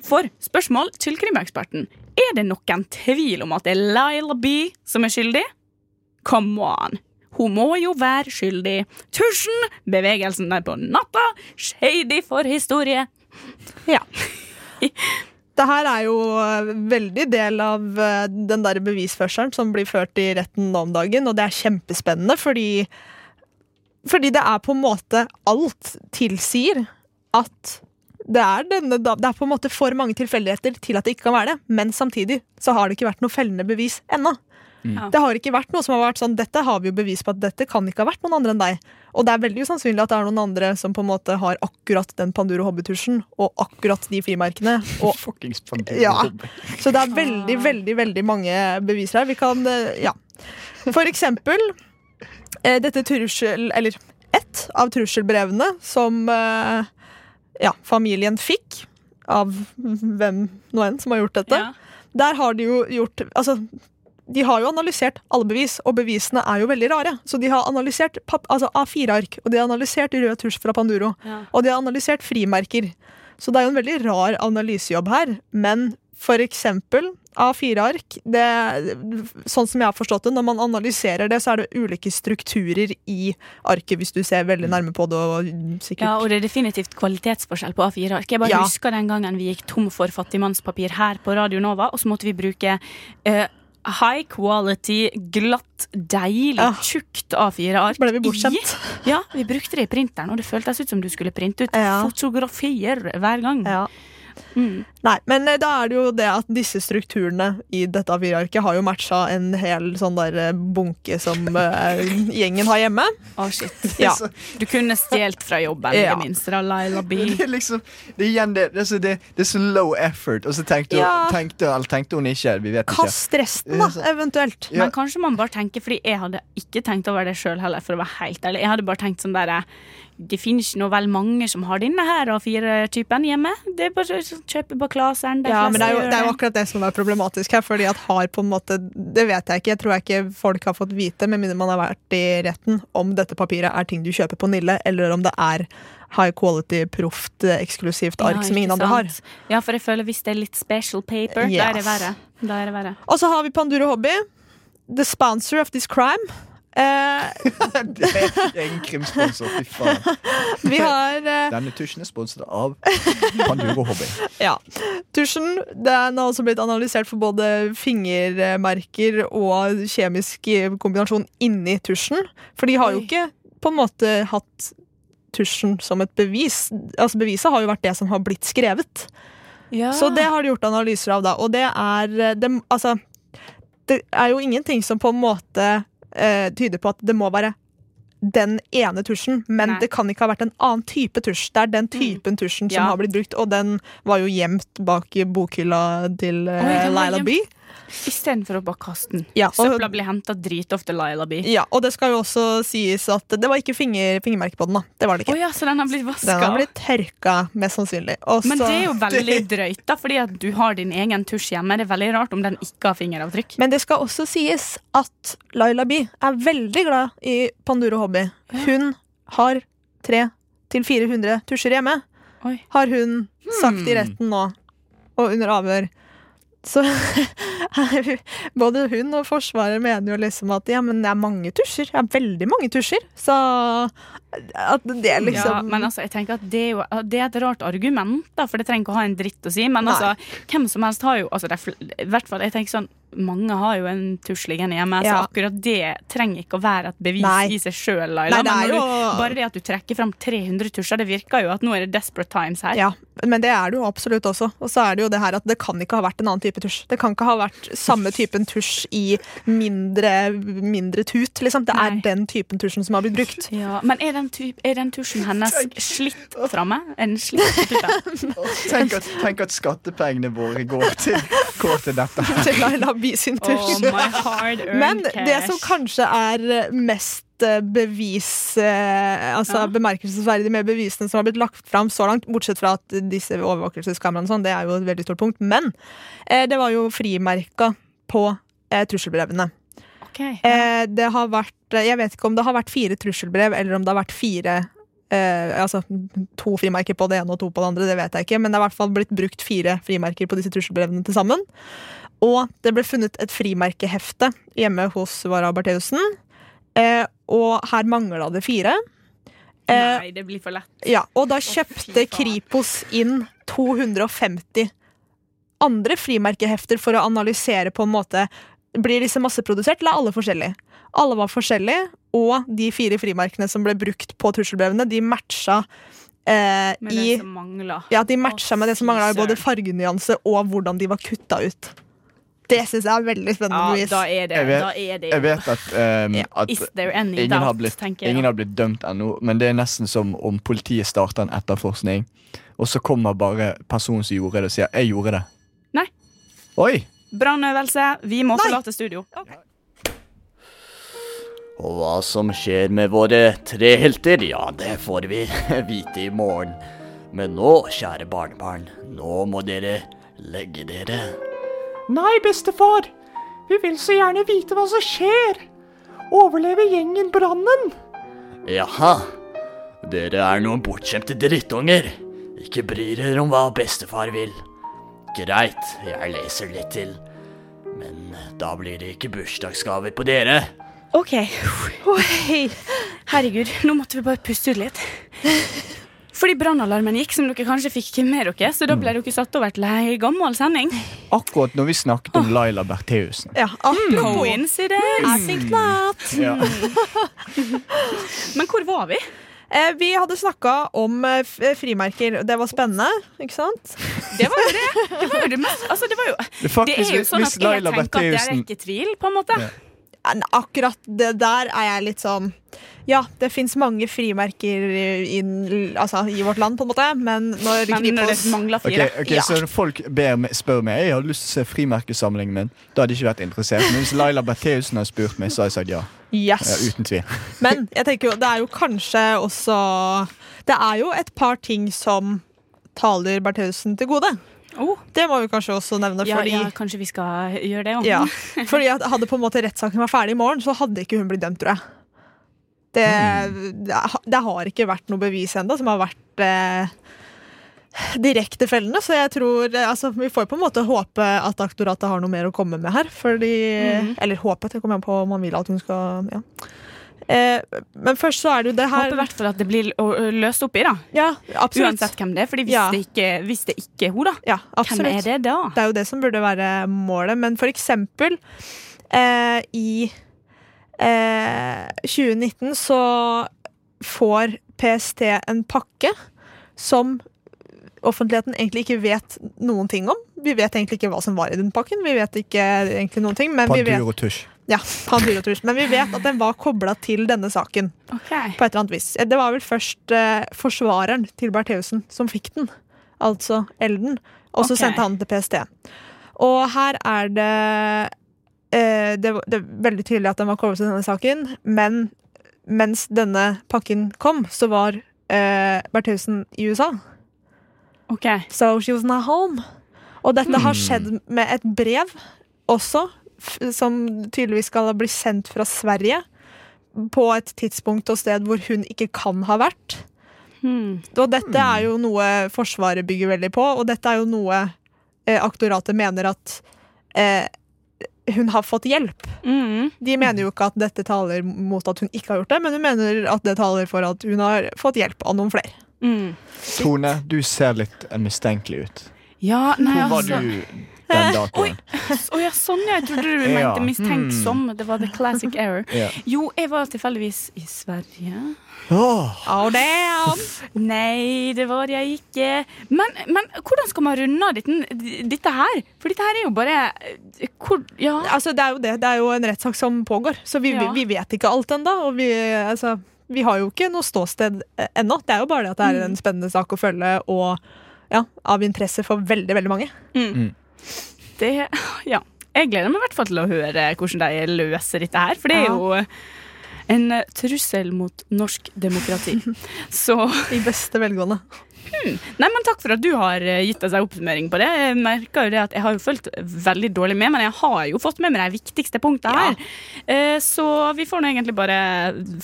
For spørsmål til krimeksperten Er det noen tvil om at det er Laila B som er skyldig? Come on. Hun må jo være skyldig. Tusjen, bevegelsen der på natta, shady for historie.
Det her er jo eh, veldig del av eh, den der bevisførselen som blir ført i retten nå om dagen, og det er kjempespennende fordi Fordi det er på en måte Alt tilsier at det er, denne, da- det er på en måte for mange tilfeldigheter til at det ikke kan være det, men samtidig så har det ikke vært noe fellende bevis ennå.
Mm.
Det har ikke vært noe som har vært sånn Dette har vi jo bevis på at dette kan ikke ha vært noen andre enn deg. Og det er veldig usannsynlig at det er noen andre som på en måte har akkurat den Panduro hobbytusjen og akkurat de frimerkene og
Fuckings
Ja. så det er veldig, veldig veldig mange beviser her. Vi kan eh, Ja. For eksempel eh, dette trussel... Eller ett av trusselbrevene som eh, ja, familien fikk av hvem nå enn som har gjort dette. Der har de jo gjort Altså, de har jo analysert alle bevis, og bevisene er jo veldig rare. Så de har analysert pap- altså A4-ark, og de har analysert rød tusj fra Panduro.
Ja.
Og de har analysert frimerker. Så det er jo en veldig rar analysejobb her. Men for eksempel A4-ark det, Sånn som jeg har forstått det, når man analyserer det, så er det ulike strukturer i arket, hvis du ser veldig nærme på det. Og sikkert
Mm. Ja, og det er definitivt kvalitetsforskjell på A4-ark. Jeg bare
Ja.
husker den gangen vi gikk tom for fattigmannspapir her på Radio Nova, og så måtte vi bruke eh, high quality, glatt, deilig,
Ja.
tjukt A4-ark.
ble vi
I-
bortskjemt.
Ja, vi brukte det i printeren, og det føltes ut som du skulle printe ut
Ja.
fotografier hver gang.
Ja.
Mm.
Nei, men eh, da er det jo det at disse strukturene i dette A4-arket har jo matcha en hel sånn der eh, bunke som eh, gjengen har hjemme.
Å, shit.
Ja.
Du kunne stjålet fra jobben, i
Ja.
det minste. Da, Laila B.
Det er liksom Det er igjen det Det er så, det, det er så low effort, og så tenkte, hun-
Ja.
tenkte, eller tenkte hun ikke. Vi vet ikke.
Kast resten, da, eventuelt.
Ja.
Men kanskje man bare tenker, fordi jeg hadde ikke tenkt over det sjøl heller. for å være helt ærlig. Jeg hadde bare tenkt sånn der, Det finnes ikke noe vel mange som har denne her A4-typen hjemme. Det er bare å kjøpe på Klaseren. de
Ja, men det er, jo,
fleste
det er jo
gjør
akkurat det som er problematisk her. Fordi at har på en måte Det vet jeg ikke. Jeg tror jeg ikke folk har fått vite, med mindre man har vært i retten, om dette papiret er ting du kjøper på Nille, eller om det er high quality, proft, eh, eksklusivt ark som
ikke
ingen andre har.
sant. Ja, for jeg føler hvis det er litt special paper, da
Ja.
er det verre. Da er det verre.
Og så har vi Panduro Hobby. The sponsor of this crime. Eh,
Det er en krimsponsor. Fy faen.
vi har eh,
Denne tusjen er sponset av Panduro Hobby.
Ja. Tusjen den har også blitt analysert for både fingermerker og kjemisk eh, kombinasjon inni tusjen. For de har jo
Oi.
ikke på en måte hatt tusjen som et bevis. Altså Beviset har jo vært det som har blitt skrevet. Så det har de gjort analyser av, da. Og det er eh, det, Altså, det er jo ingenting som på en måte eh, tyder på at det må være den ene tusjen, men
Nei. Mm.
det kan ikke ha vært en annen type tusj. Det er den typen tusjen som
Ja.
har blitt brukt, og den var jo gjemt bak i bokhylla til eh,
Oi, den var
Laila
gjemt.
B.
Istedenfor å bare kaste den.
Ja, og,
Søpla blir henta dritofte, Laila B.
ja, og det skal jo også sies at det var ikke finger, fingermerke på den, da. Det var det
Å
ikke.
ja, så den har blitt vaska.
Den har blitt tørka, mest sannsynlig. Og
Men
så-
det er jo veldig drøyt, da, fordi at du har din egen tusj hjemme. Det er veldig rart om den ikke har fingeravtrykk.
Men det skal også sies at Laila Bi er veldig glad i Panduro Hobby. Hun har 300-400 tusjer hjemme,
Oi.
har hun sagt i retten nå, og under avhør. Så både hun og Forsvaret mener jo liksom at ja, men det er mange tusjer. Det er veldig mange tusjer. Så at det er liksom
Ja, men altså, jeg tenker at det er, jo, det er et rart argument, da, for det trenger ikke å ha en dritt å si. Men
Nei.
altså, hvem som helst har jo altså, det er fl I hvert fall, jeg tenker sånn Mange har jo en tusj liggende hjemme, så
Ja.
akkurat det trenger ikke å være et bevis
Nei.
i seg sjøl,
Nei,
Laila.
det
men
er
når
jo
du, bare det at du trekker fram 300 tusjer, det virker jo at nå er det desperate times her.
Ja, men det er det jo absolutt også. Og så er det jo det her at det kan ikke ha vært en annen type tusj. Det kan ikke ha vært samme typen tusj i mindre, mindre tut, liksom. Det er
Nei.
den typen tusjen som har blitt brukt.
Ja, men er den, typ, er den tusjen hennes slitt framme? En slitt tuta?
Tenk at, tenk at skattepengene våre går til, går til dette her.
Til Laila Bi sin
Oh,
tusj.
my hard earned
Men det
cash.
som kanskje er mest eh, bevis eh, Altså
Ja.
bemerkelsesverdig med bevisene som har blitt lagt fram så langt, bortsett fra at disse overvåkelseskameraene og sånn, det er jo et veldig stort punkt, men eh, det var jo frimerka på eh, trusselbrevene.
Ok.
Eh, det har vært, jeg vet ikke om det har vært fire trusselbrev, eller om det har vært fire eh, altså, to frimerker på det ene og to på det andre, det vet jeg ikke, men det er i hvert fall blitt brukt fire frimerker på disse trusselbrevene til sammen. Og det ble funnet et frimerkehefte hjemme hos Vara Bertheussen, eh, og her mangla det fire. Eh,
Nei, det blir for lett.
ja, og da
fy
kjøpte
faen.
Kripos inn 250 andre frimerkehefter for å analysere på en måte Blir disse masseprodusert, eller er alle forskjellige? Alle var forskjellige, og de fire frimerkene som ble brukt på trusselbrevene, de matcha eh,
Med
i
det som mangler.
ja, de matcha med det som
fy
mangla i både
søren.
fargenyanse og hvordan de var kutta ut. Det syns jeg er veldig spennende.
Ja,
Louise.
da er det
Jeg vet-
da er det
Jeg vet at, ehm,
Ja,
at
Is there any
ingen,
doubt,
har blitt,
tenker jeg.
ingen har blitt dømt ennå, men det er nesten som om politiet starter en etterforskning, og så kommer bare personen som gjorde det, og sier 'jeg gjorde det'.
Nei.
Oi!
Brannøvelse. Vi må
Nei.
forlate studio.
Og hva som skjer med våre tre helter, ja, det får vi vite i morgen. Men nå, kjære barnebarn, nå må dere legge dere.
Nei, bestefar. Vi vil så gjerne vite hva som skjer. Overlever gjengen brannen?
Jaha, dere er noen bortskjemte drittunger. Ikke bry dere om hva bestefar vil. Greit, jeg leser litt til. Men eh, da blir det ikke bursdagsgaver på dere.
OK. Oi. Herregud, nå måtte vi bare puste ut litt. Fordi brannalarmen gikk, som dere kanskje fikk med dere. Så da ble dere satt over til ei gammel sending.
Akkurat når vi snakket
Ah.
om Laila Bertheussen.
Ja, apropos
Coincidence.
Ja.
Men hvor var vi?
Eh, vi hadde snakka om eh, f- eh, frimerker. Det var spennende, ikke sant?
Det var jo det. Det var jo det mest Altså, det var jo
Det er faktisk,
Det er jo sånn
hvis
at jeg
Laila
tenker at jeg er
Bertheussen
ikke i tvil, på en måte.
Ja.
Ja, nei, Akkurat det der er jeg litt sånn Ja, det fins mange frimerker i, i, altså, i vårt land, på en måte, men når
Men når det
Kripos
mangler
Ok,
fire
ok,
Ja.
Så når folk ber, meg- spør meg Jeg hadde lyst til å se frimerkesamlingen min. Da hadde jeg ikke vært interessert. Men hvis Laila Bertheussen hadde spurt meg, så hadde jeg sagt ja. ja
Yes.
uten tvil.
Men jeg tenker jo, det er jo kanskje også Det er jo et par ting som taler Bertheussen til gode.
Oh.
Det må vi kanskje også nevne,
ja,
fordi
ja, kanskje vi skal eh, gjøre det òg.
Ja, fordi at hadde på en måte rettssaken vært ferdig i morgen, så hadde ikke hun blitt dømt, tror jeg. Det, det, ha- det har ikke vært noe bevis ennå som har vært eh, direkte fellende, så jeg tror eh, altså, Vi får på en måte håpe at aktoratet har noe mer å komme med her, fordi
Hmm.
Eller håpe, det kommer an på om man vil at hun skal Ja. Eh, men først så er det jo det her
Håper i hvert fall at det blir å- å løst opp i, da.
Ja, absolutt.
Uansett hvem det er. Fordi hvis,
Ja.
det, ikke, hvis det ikke er hun, da,
Ja, absolutt.
hvem er det da?
Det er jo det som burde være målet, men for eksempel eh, i eh, 2019 så får PST en pakke som offentligheten egentlig ikke vet noen ting om. Vi vet egentlig ikke hva som var i den pakken, vi vet ikke egentlig noen ting, men vi vet,
Pandur og tusj.
ja, Panduro Truls, men vi vet at den var kobla til denne saken
Ok.
på et eller annet vis. Det var vel først eh, forsvareren til Bertheussen som fikk den, altså Elden, og så
Ok.
sendte han den til PST. Og her er det eh, det, var- det er veldig tydelig at den var koblet til denne saken, men mens denne pakken kom, så var eh, Bertheussen i USA.
ok.
So she was not home. Og dette har skjedd med et brev også, f som tydeligvis skal ha blitt sendt fra Sverige. På et tidspunkt og sted hvor hun ikke kan ha vært.
Hmm.
Og dette er jo noe Forsvaret bygger veldig på, og dette er jo noe eh, aktoratet mener at eh, hun har fått hjelp.
Mm.
De mener jo ikke at dette taler mot at hun ikke har gjort det, men hun mener at det taler for at hun har fått hjelp av noen flere.
Mm.
Tone, du ser litt eh, mistenkelig ut.
Ja, nei,
Hvor var
altså.
du den datoen?
Å ja, sånn ja. Jeg trodde du
Ja. Hmm.
mente mistenksom. Det var the classic error.
Ja.
Jo, jeg var tilfeldigvis i Sverige.
Åh,
Oh, damn!
Nei, det var jeg ikke. Men, men hvordan skal man runde av dette, dette her? For dette her er jo bare eh, hvor, Ja.
Altså, det er jo det. Det er jo en rettssak som pågår, så vi,
Ja.
vi, vi vet ikke alt ennå. Og vi, altså, vi har jo ikke noe ståsted eh, ennå. Det er jo bare det at det er en spennende sak å følge, og ja, av interesse for veldig, veldig mange.
Det, ja. Jeg gleder meg i hvert fall til å høre hvordan de løser dette her, for det er
Ja.
jo en trussel mot norsk demokrati. Så
I beste velgående.
Nei, men Takk for at du har eh, gitt oss en oppsummering på det. Jeg merker jo det at jeg har jo fulgt veldig dårlig med, men jeg har jo fått med meg de viktigste punktene her. Eh, Så vi får nå egentlig bare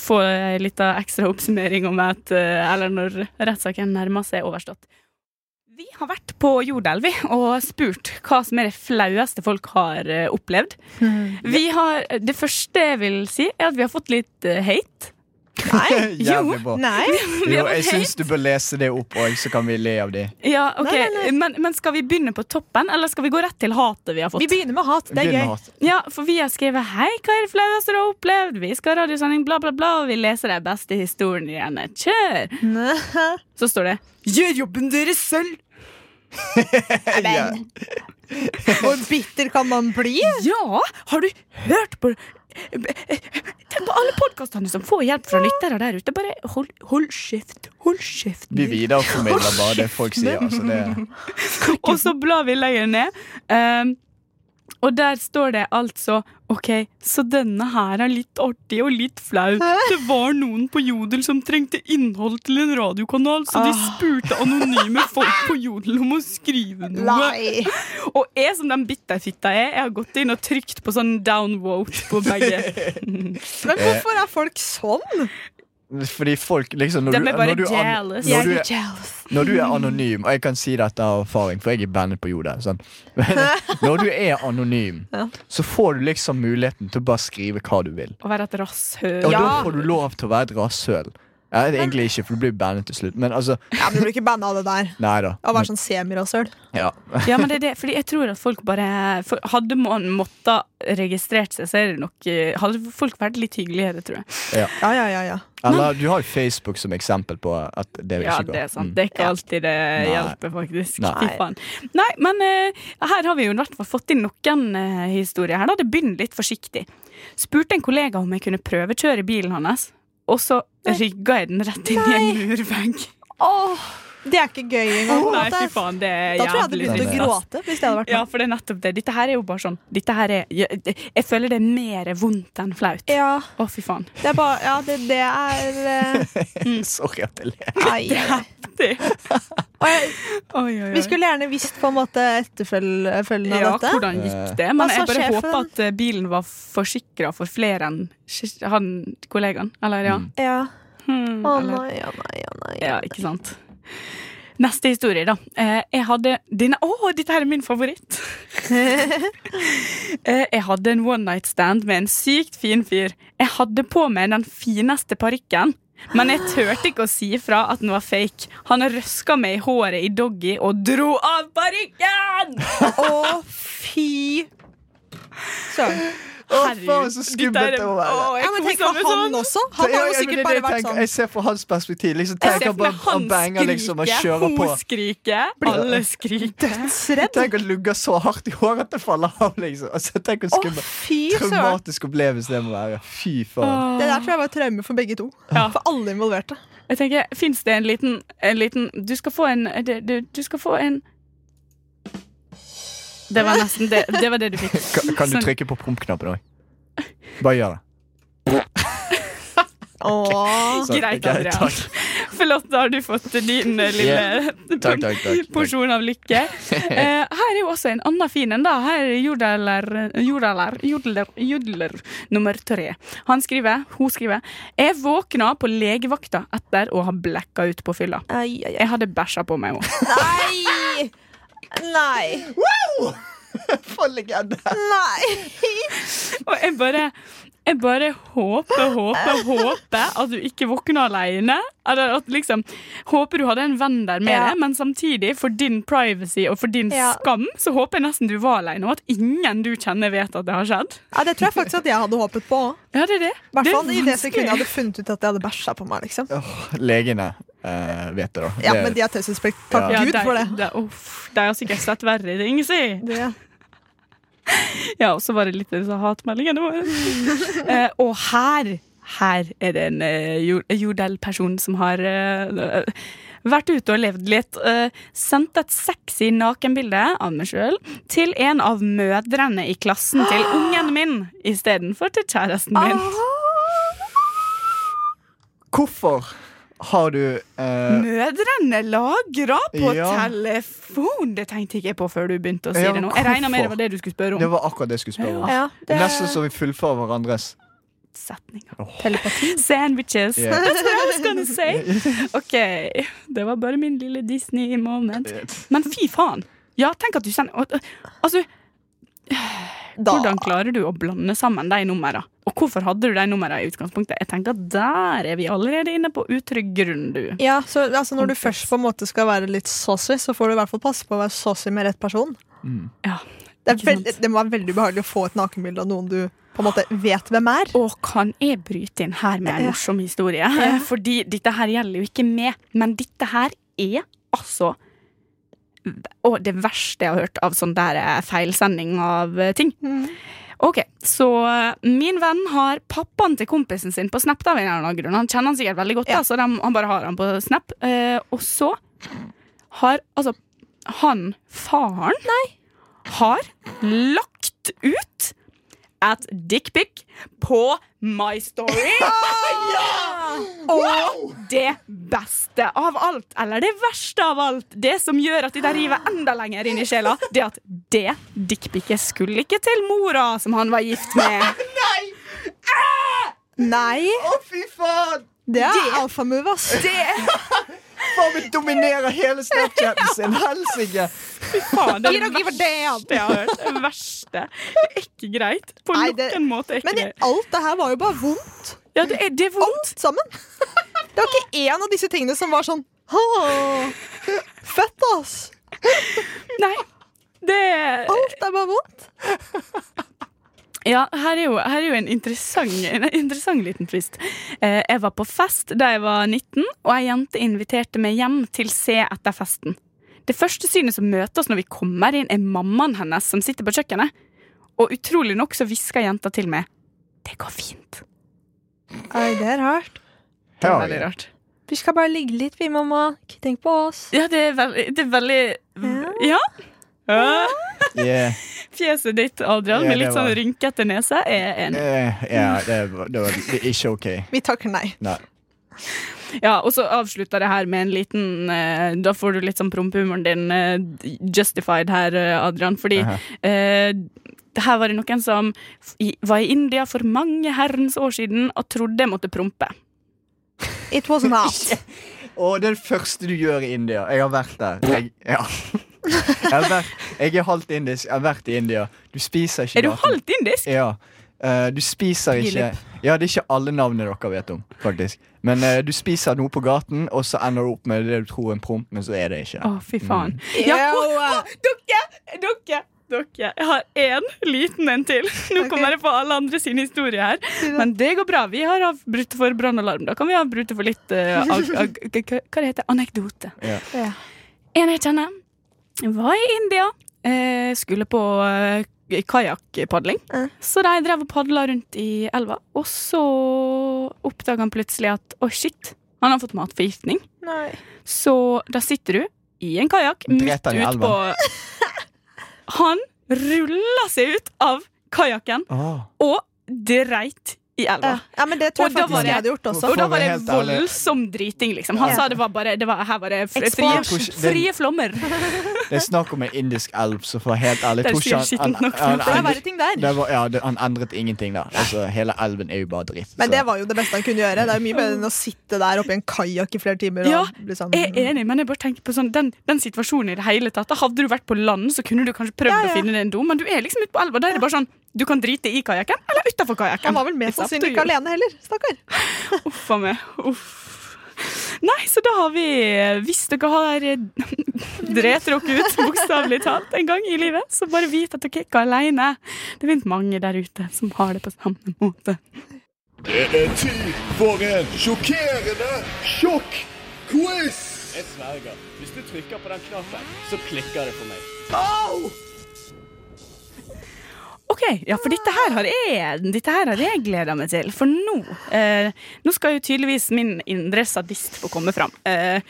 få en liten ekstra oppsummering om at eh, Eller når rettssaken nærmer seg overstått. Vi har vært på Jordal, vi, og spurt hva som er det flaueste folk har eh, opplevd. Vi har, det første jeg vil si, er at vi har fått litt eh, hate.
Jævlig bra.
Nei.
Vi
Jo,
har
jeg
fått hate.
syns du bør lese det opp òg, så kan vi le av de.
Ja, ok,
Nei, nei,
Men, men skal vi begynne på toppen, eller skal vi gå rett til hatet vi har fått?
Vi begynner med hat. Det er
Begynn
gøy.
med hat.
Ja, for vi har skrevet 'Hei, hva er det flaueste du har opplevd?' Vi skal ha radiosending, bla, bla, bla, og vi leser de beste historiene. Kjør! Så står det 'Gjør jobben deres selv'.
Ja.
Hvor bitter kan man bli?
Ja, har du hørt på Tenk på alle podkastene som får hjelp fra lyttere der ute. Bare hold, hold kjeft. Hold kjeft.
Vi videreformidler bare det folk sier. Altså det,
Og så blar vi lenger ned. Ehm, og der står det altså OK, så denne her er litt artig og litt flau. Det var noen på Jodel som trengte innhold til en radiokanal, så
Ah.
de spurte anonyme folk på Jodel om å skrive noe.
Nei.
Og jeg som den bitterfitta er, jeg har gått inn og trykt på sånn downvote på begge.
Men hvorfor er folk sånn?
fordi folk liksom når
De
du,
er bare
når du, an-
jealous.
når du,
Jeg
er, når du er anonym, og jeg kan si dette av erfaring, for jeg er bandet på jorda. Sånn. Men når du er anonym,
Ja.
så får du liksom muligheten til å bare skrive hva du vil.
Å være et rasshøl.
Og
Ja.
da får du lov til å være et rasshøl. Ja, det er egentlig ikke, for du blir bandet til slutt. Men altså,
Ja, men Du blir ikke banna av det der.
nei da.
Å
Men,
være sånn semirasøl.
ja.
Ja, men det er det, fordi jeg tror at folk bare for Hadde man måttet registrert seg, så er det nok eh, Hadde folk vært litt hyggeligere, tror jeg.
Ja, ja, ja, ja.
Eller du har jo Facebook som eksempel på at det
Ja,
ikke går.
det er sant.
Mm.
Det er ikke alltid det
Nei.
hjelper, faktisk.
Nei.
Fy faen. Nei, men eh, her har vi jo i hvert fall fått inn noen eh, historier her. da. Det begynner litt forsiktig. Spurte en kollega om jeg kunne prøvekjøre bilen hans, og så rygga jeg den rett inn i en murvegg.
Åh, det er ikke gøy engang. på en
Nei,
måte.
fy faen, det er
Da tror jeg jeg hadde
jævlig
begynt å
trist, ass.
gråte. hvis det hadde vært
sånn. Ja,
meg.
for det er nettopp det. Dette her er jo bare sånn Dette her er Jeg, jeg føler det er mer vondt enn flaut. Å,
Ja,
fy faen.
det er bare Ja, det, det er eh,
Sorry at jeg ler.
Ai.
Det.
Og jeg,
Oi, oi, oi.
vi skulle gjerne visst på en måte etterfølgen av
Ja,
dette.
hvordan gikk det? Men
Hva sa
jeg bare
sjefen?
håper at eh, bilen var forsikra for flere enn sj- han kollegaen. Eller ja.
Ja.
Hmm,
Å
eller,
nei, å nei, å nei.
ja, ikke sant. Neste historie, da. Eh, Jeg hadde denne Å, dette her er min favoritt! Eh, jeg hadde en one night stand med en sykt fin fyr. Jeg hadde på meg den fineste parykken. Men jeg turte ikke å si ifra at den var fake. Han røska meg i håret i doggy og dro av parykken!
Å, fy søren.
Å,
Herregud,
faen, så skummelt
dette
det
er-
må være.
Å, jeg
Ja, men tenk
koser
på
meg
han
sånn.
også. Han har
Ja,
jo
ja, men det
sikkert
er det
bare
jeg
vært
tenker.
sånn.
Jeg ser fra hans perspektiv. Liksom,
Jeg
tenk han
ser for
bare
meg
han
han
banger liksom og kjører på.
skriker, hun skriker, alle skriker.
Dødsredd.
Tenk å lugge så hardt i håret at det faller av. liksom altså, Tenk hvor
Å,
skummel
fy søren.
traumatisk opplevelse det må være. Fy faen.
Det der tror jeg var et traume for begge to.
Ja.
For alle involverte.
Jeg tenker, Fins det en liten, en liten Du skal få en du, du, du skal få en Det var nesten det. Det var det du fikk.
Kan, kan du
Sånn.
trykke på prompknappen òg? Bare gjør det.
Åh.
Sånn,
Greit,
ok,
Adrian.
Takk,
Flott, da har du fått din eh, lille
takk, takk, takk, takk.
porsjon av lykke. Eh, her er jo også en annen fin en, da. Her er jodeler, jodeler, jodler, jodler nummer tre. Han skriver, hun skriver Jeg våkna på legevakta etter å ha blekka ut på fylla.
Ai, ai, ai.
Jeg hadde bæsja på meg òg.
Nei! Nei.
For legende.
Nei.
Og jeg bare jeg bare håper, håper, håper at du ikke våkner alene. Eller at liksom, håper du hadde en venn der med
Ja.
deg, men samtidig, for din privacy og for din
Ja.
skam, så håper jeg nesten du var alene, og at ingen du kjenner vet at det har skjedd.
Ja, det tror jeg faktisk at jeg hadde håpet på.
Ja, det er det.
I hvert
Det er
fall i det
vanskelig.
sekundet jeg hadde funnet ut at jeg hadde bæsja på meg. liksom
Åh, legene eh, vet det, da.
Ja,
Det-
Men de har taushetsplikt. Takk
Ja,
Gud
de-
for det.
de- uff, De har sikkert sett verre ting, si.
det.
Ja, og så var det litt disse hatmeldingene våre. eh, og her, her er det en eh, jor- jordell-person som har eh, vært ute og levd litt. Eh, sendt et sexy nakenbilde av meg sjøl til en av mødrene i klassen til ungen min istedenfor til kjæresten min.
Hvorfor? har du eh,
Mødrene lagra på
Ja.
telefon! Det tenkte jeg ikke på før du begynte å si
Ja,
det nå. Jeg regna
hvorfor?
med det var det du skulle spørre
Det
om.
var akkurat det jeg skulle spørre om.
Ja, det
Nesten så vi fullfører hverandres.
Setninga.
telepati.
Sandwiches.
Ja.
That's what I was gonna say. OK. Det var bare min lille Disney-moment. Men fy faen. Ja, tenk at du sender og- og- Altså,
Da.
hvordan klarer du å blande sammen de numrene? Og hvorfor hadde du de numrene i utgangspunktet? Jeg tenker at Der er vi allerede inne på utrygg grunn, du.
Ja, så altså, Når du
Kompis.
først på en måte skal være litt saucy, så får du i hvert fall passe på å være saucy med rett person.
Ja,
Det, er
ikke sant?
veldig- det må være veldig ubehagelig å få et nakenbilde av noen du på en måte vet hvem er.
Og kan jeg bryte inn her med en morsom historie? Fordi dette her gjelder jo ikke meg, men dette her er altså Og det verste jeg har hørt av sånn der eh, feilsending av eh, ting. Ok, så eh, min venn har pappaen til kompisen sin på Snap. da, av en eller annen grunn. Han kjenner han sikkert veldig godt, da, så dem- han bare har han på Snap. Eh, og så har altså han, faren, har lagt ut at dickpic på My Story. Og det beste av alt, eller det verste av alt, det som gjør at de der river enda lenger inn i sjela, det at det dickpicet skulle ikke til mora som han var gift med.
Nei!
Å, fy faen!
Det er alfamove, ass.
Det
Faen, vi dominerer hele Snapchaten sin! Helsike!
faen, det er
Give
det
or give a damn.
verste jeg har hørt. Det verste. Det er Ikke greit. På
Nei, det-
noen måte er ikke
Men i-
det.
alt det her var jo bare vondt.
Ja, det er, det er vondt.
Alt sammen. Det var ikke én av disse tingene som var sånn «Åh, Fett, ass!
Nei. Det
Alt er bare vondt.
Ja, her er jo, her er jo en, interessant, en interessant liten twist. Eh, jeg var på fest da jeg var 19, og ei jente inviterte meg hjem til C etter festen. Det første synet som møter oss når vi kommer inn, er mammaen hennes som sitter på kjøkkenet. Og utrolig nok så hvisker jenta til meg Det går fint.
Nei, det er rart.
Det er
Ja,
veldig rart.
Vi skal bare ligge litt, vi, mamma. Ikke tenk på oss.
Ja, det er veldig, det er veldig Ja.
yeah,
Fjeset ditt, Adrian,
Ja,
med
det
litt sånn
var-
rynkete nese, er en
eh, ja det, var- det, var, det er ikke OK.
Vi takker nei.
Nei.
Ja, og så avslutta det her med en liten eh, Da får du litt sånn prompehumoren din eh, justified her, eh, Adrian, fordi
Aha.
eh, det her var det noen som f- i- var i India for mange herrens år siden og trodde jeg måtte prompe.
It was not.
Og det er det første du gjør i India. Jeg har vært der. Jeg, ja. jeg, har vært, jeg er halvt indisk. Jeg har vært i India. Du spiser ikke
Er du
naken.
halvt indisk?
Ja. Eh, du spiser ikke Ja, det er ikke alle navnene dere vet om, faktisk. Men eh, du spiser noe på gaten, og så ender du opp med det du tror er en promp, men så er det ikke.
Å, fy faen. Ja,
Ew.
å, å, dere! Dere! Dere. Jeg har én liten en til. Nå kommer jeg på alle andre sine historier her. Men det går bra. Vi har avbrutt for brannalarm. Da kan vi avbrutte for litt eh, ag ag g- g- Hva det heter Anekdote.
Ja.
Ja.
En jeg kjenner, var i India. eh, skulle på uh, kajakkpadling.
Mm.
Så de drev og padla rundt i elva, og så oppdaga han plutselig at å, shit, han har fått matforgiftning.
Nei.
Så da sitter du i en kajakk midt
Drep han i
ut på
elven.
Han rulla seg ut av kajakken
Åh.
og dreit i elva.
Ja. ja, men det tror
Og
jeg
da
faktisk
var det-
jeg hadde gjort også.
Og da
for å
var
være
det
helt ærlig-
voldsom driting, liksom. Han
Ja.
sa det var bare det var, Her var det fri-
Jeg tror
frie,
ikke- det-
frie flommer.
Det er snakk om en indisk elv, så for å være helt ærlig
Det
jeg tror
sier
ikke
skittent nok for meg.
Det er verre ting der.
det var, ja, det, han endret ingenting der. Altså, hele elven er jo bare dritt.
Men
så-
det var jo det beste han kunne gjøre. Det er jo mye bedre enn å sitte der oppe i en kajakk i flere timer.
Ja,
og bli sånn-
Jeg er enig, men jeg bare tenker på sånn, den, den situasjonen i det hele tatt. Da Hadde du vært på land, så kunne du kanskje prøvd
Ja, ja.
å finne deg en do, men du er liksom ute på elva. Da er det bare sånn Du kan drite i kajakken eller utafor kajakken.
Han var vel mest
It's up to
sannsynlig
you.
ikke alene heller. Stakkar.
Uff a meg. Uff. Nei, så da har vi Hvis dere har eh, dret dere ut, bokstavelig talt, en gang i livet, så bare vit at dere ikke er alene. Det finnes mange der ute som har det på samme måte.
Det er tid eh, for en sjokkerende sjokk-quiz!
Jeg sverger. Hvis du trykker på den knappen, så klikker det for meg.
OK, ja, for dette her har jeg, dette her har jeg gleda meg til. For nå eh, Nå skal jo tydeligvis min indre sadist få komme fram. Eh,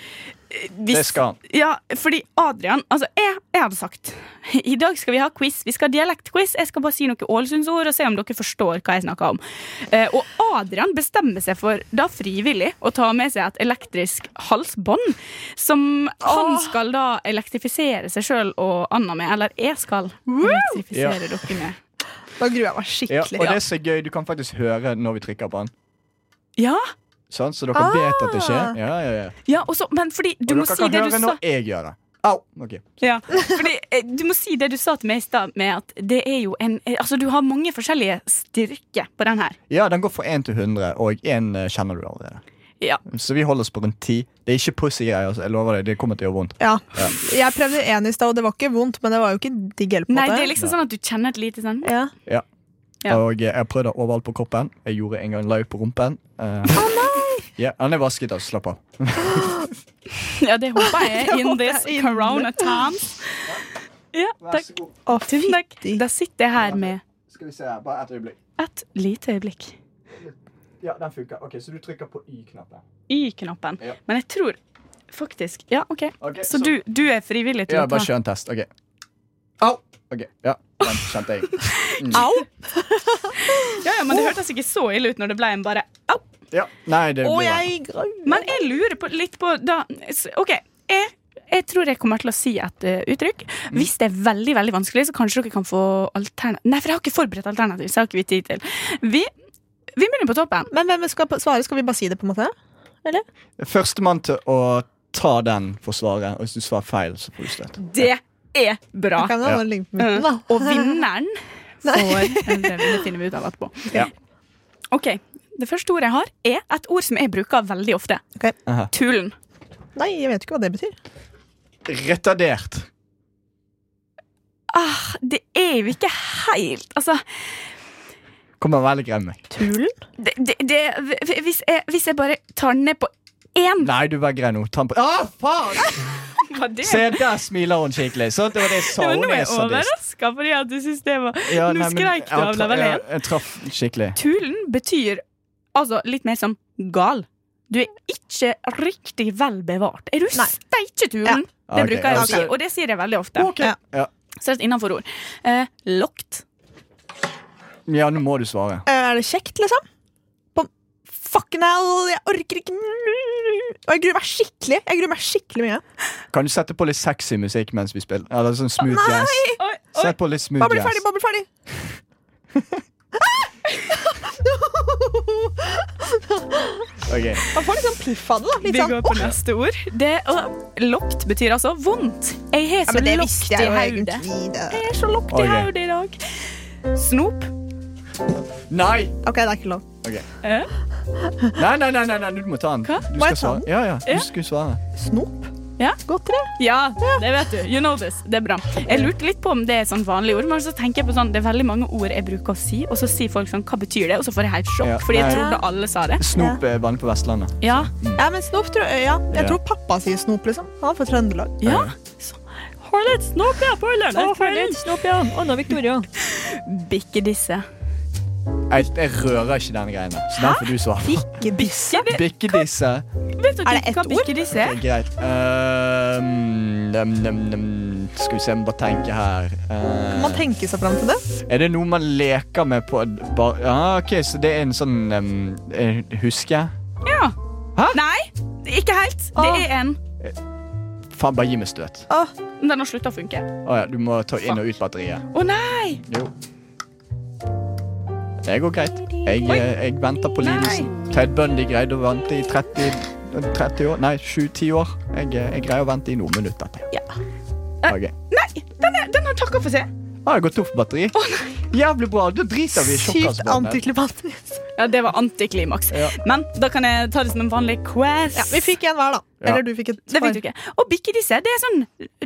hvis,
Det skal han.
Ja, fordi Adrian Altså, jeg, jeg hadde sagt I dag skal vi ha quiz. Vi skal ha dialektquiz. Jeg skal bare si noen Ålesundsord og se om dere forstår hva jeg snakker om. Eh, og Adrian bestemmer seg for, da frivillig, å ta med seg et elektrisk halsbånd. Som han skal da elektrifisere seg sjøl og Anna med. Eller jeg skal elektrifisere dere med.
Da gruer jeg meg
Ja,
skikkelig.
og det er så gøy. Du kan faktisk høre når vi trykker på den.
Ja,
Sant? Så dere vet at det skjer. Ja, ja, ja.
ja også, men fordi Ah! du
Og
må
dere
si
kan
det du
høre
sa.
når jeg gjør det. Au! ok.
Ja, fordi eh, Du må si det du sa til meg i stad, med at det er jo en eh, Altså, du har mange forskjellige styrker på den her.
Ja, den går fra 1 til 100, og 1 eh, kjenner du allerede.
Ja.
Så vi holder oss på rundt 10. Det er ikke pussy-greier. altså. Jeg lover deg, det kommer til å gjøre vondt.
Ja. Jeg prøvde en i stad, og det var ikke vondt, men det var jo ikke digg hjelp. på en
Nei,
måte.
det er liksom sånn at du kjenner et lite sånn
ja.
Ja.
Og eh, jeg har prøvd det overalt på kroppen. Jeg gjorde en gang live på rumpen. Eh, ja, den er vasket, altså. Slapp av.
Ja, det håper jeg er in
håper jeg
this
er inne.
corona times. Ja, takk.
Å,
Tusen takk.
fytti.
Da sitter jeg her med
Skal vi se her, bare et øyeblikk.
et lite øyeblikk.
Ja, den funker. Ok, Så du trykker på Y-knappen.
Y-knappen.
Ja.
Men jeg tror faktisk Ja, OK.
Ok,
Så du, du er frivillig til
Ja,
å
bare
ta
kjør en test. OK. Au! Ok, Ja, den kjente Mm. jeg.
Au! Ja, ja, men det hørtes ikke så ille ut når det ble en bare au.
Ja. Nei, det
Å,
blir det.
jeg gruer
Men jeg lurer på, litt på da, s- OK. Jeg, jeg tror jeg kommer til å si et eh, uttrykk.
Mm.
Hvis det er veldig veldig vanskelig, så kanskje dere kan få alternativ. Nei, for jeg har ikke forberedt alternativ. Så jeg har ikke vi tid til. Vi, vi begynner på toppen.
Men hvem skal på- svare? Skal vi bare si det, på en måte?
Førstemann til å ta den for svaret, og hvis du svarer feil, så får du støtte.
Det er bra. Mm.
Kan jeg ha
Ja.
noen link på midten, da?
Og vinneren får det, det finner vi ut av etterpå.
Ja.
OK. Det første ordet jeg har, er et ord som jeg bruker veldig ofte.
Ok.
Aha.
Tulen.
Nei, jeg vet ikke hva det betyr.
Retardert.
Ah, det er jo ikke helt Altså,
Kommer veldig grei med meg.
Tulen?
det, det, det, hvis, jeg, hvis jeg bare tar den ned på én
Nei, du var grei nå. Ta den på ah, faen!
Hva det?
Se, der smiler hun skikkelig. Sant? Det var det jeg sa.
Ja, men nå
Hun
er
er
jeg
sadist.
overraska fordi at du syns det var
Ja,
Nå
nei, men
skrek du
jeg
av
tra-
level
jeg-
1.
Jeg traff skikkelig.
Tulen betyr altså litt mer som gal. Du er ikke riktig vel bevart. Er du
Nei.
steike
Ja.
tulen?
Ok,
Det bruker jeg å
altså-
si, og det sier jeg veldig ofte.
Ja.
Så det er innenfor ord. Eh, lokt.
Ja, nå må du svare.
Er det kjekt, liksom? På fucking hell, jeg orker ikke Og jeg gruer meg skikkelig. Jeg gruer meg skikkelig mye.
Kan du sette på litt sexy musikk mens vi spiller? Eller sånn smooth
Nei!
jazz?
Oi, oi.
Sett på litt smooth
Bare bli
jazz.
ferdig, bare bli ferdig!
Ok.
Man får litt sånn piffhandel, da. Litt
Vi
sånn.
går på neste ord. Det, og, lokt betyr altså vondt. Jeg har
Ja,
så
men det
lokt
visste
i
jeg jo
hodet.
egentlig. det-
Jeg har så lokt
Ok.
i hodet i dag. Snop.
Nei!
Ok, det er ikke lov.
Eh,
Nei, nei, nei, nei, nei, du må ta den. Du
Må
skal
jeg ta
svare.
den?
Ja, ja,
Ja.
du skulle svare.
Snop?
Ja.
Godteri?
Ja, det vet du. You know this. Det er bra. Jeg lurte litt på om det er sånn vanlige ord, men så tenker jeg på sånn, det er veldig mange ord jeg bruker å si, og så sier folk sånn, hva betyr det? Og så får jeg helt sjokk,
Ja,
fordi jeg
nei.
trodde alle sa det.
Snop er vanlig på Vestlandet.
Ja,
Ja, men snop tror jeg Ja, jeg
Ja.
tror pappa sier snop, liksom. Han er fra Trøndelag.
ja. Så, har litt snopp, ja, på lørdagskvelden.
Snopp, ja. Anna Victoria.
Bikkedisse.
Jeg, jeg rører ikke denne greiene. Så den får du svare.
Gebisse?
Er det,
Bikkedisse
vet
Er
dere
det ett
hva
ord?
bikkedisse
er
er?
greit. Ehm, nem, nem, nem. Skal vi se, må bare tenke her. Ehm,
Man tenker seg fram til det.
er det noe man leker med på bar ah, OK, så det er en sånn um, Husker jeg?
Ja.
Hæ?
Nei, ikke helt. Det er en.
Faen, bare gi meg støt. Å
Den har sluttet å funke.
ja, du må ta inn og ut batteriet.
Å nei!
Jo. Det går greit. Jeg, eh, jeg venter på lidelsen. Ted Bundy greide å vente i 30, 30 år Nei, 7-10 år. Jeg, eh, jeg greier å vente i noen minutter til.
Ja.
Ok.
Nei, den, er, den har takket for seg.
Ah, jeg går tom for batteri. Jævlig bra. Da driter vi i
Sykt
tjukkasbåndet.
antiklimatisk.
Ja, det var antiklimaks.
Ja.
Men da kan jeg ta det som en vanlig quest.
Ja, vi fikk en hver, da.
Ja.
Eller du fikk et
Det fikk du ikke. Og bikkedisse, det er sånn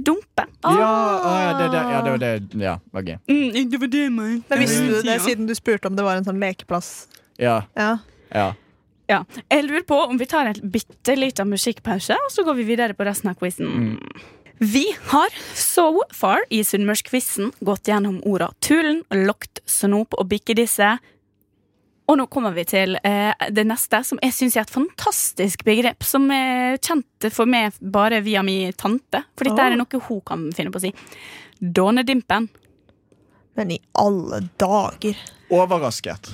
dumpe.
Ja, ah, ja, det, det, ja, det var det. Ja, ok.
Mm, det var det, man.
Men visste du det siden du spurte om det var en sånn lekeplass?
Ja,
Ja.
ja.
Ja. Jeg lurer på om vi tar en bitte liten musikkpause, og så går vi videre på resten av quizen. Vi har so far i Sunnmørsquizen gått gjennom orda tulen, lokt, snop og bikkedisse. Og nå kommer vi til eh, det neste, som jeg syns er et fantastisk begrep. Som er kjent for meg bare via min tante, for
Ah.
dette er noe hun kan finne på å si. Dånedimpen.
Men i alle dager.
Overrasket.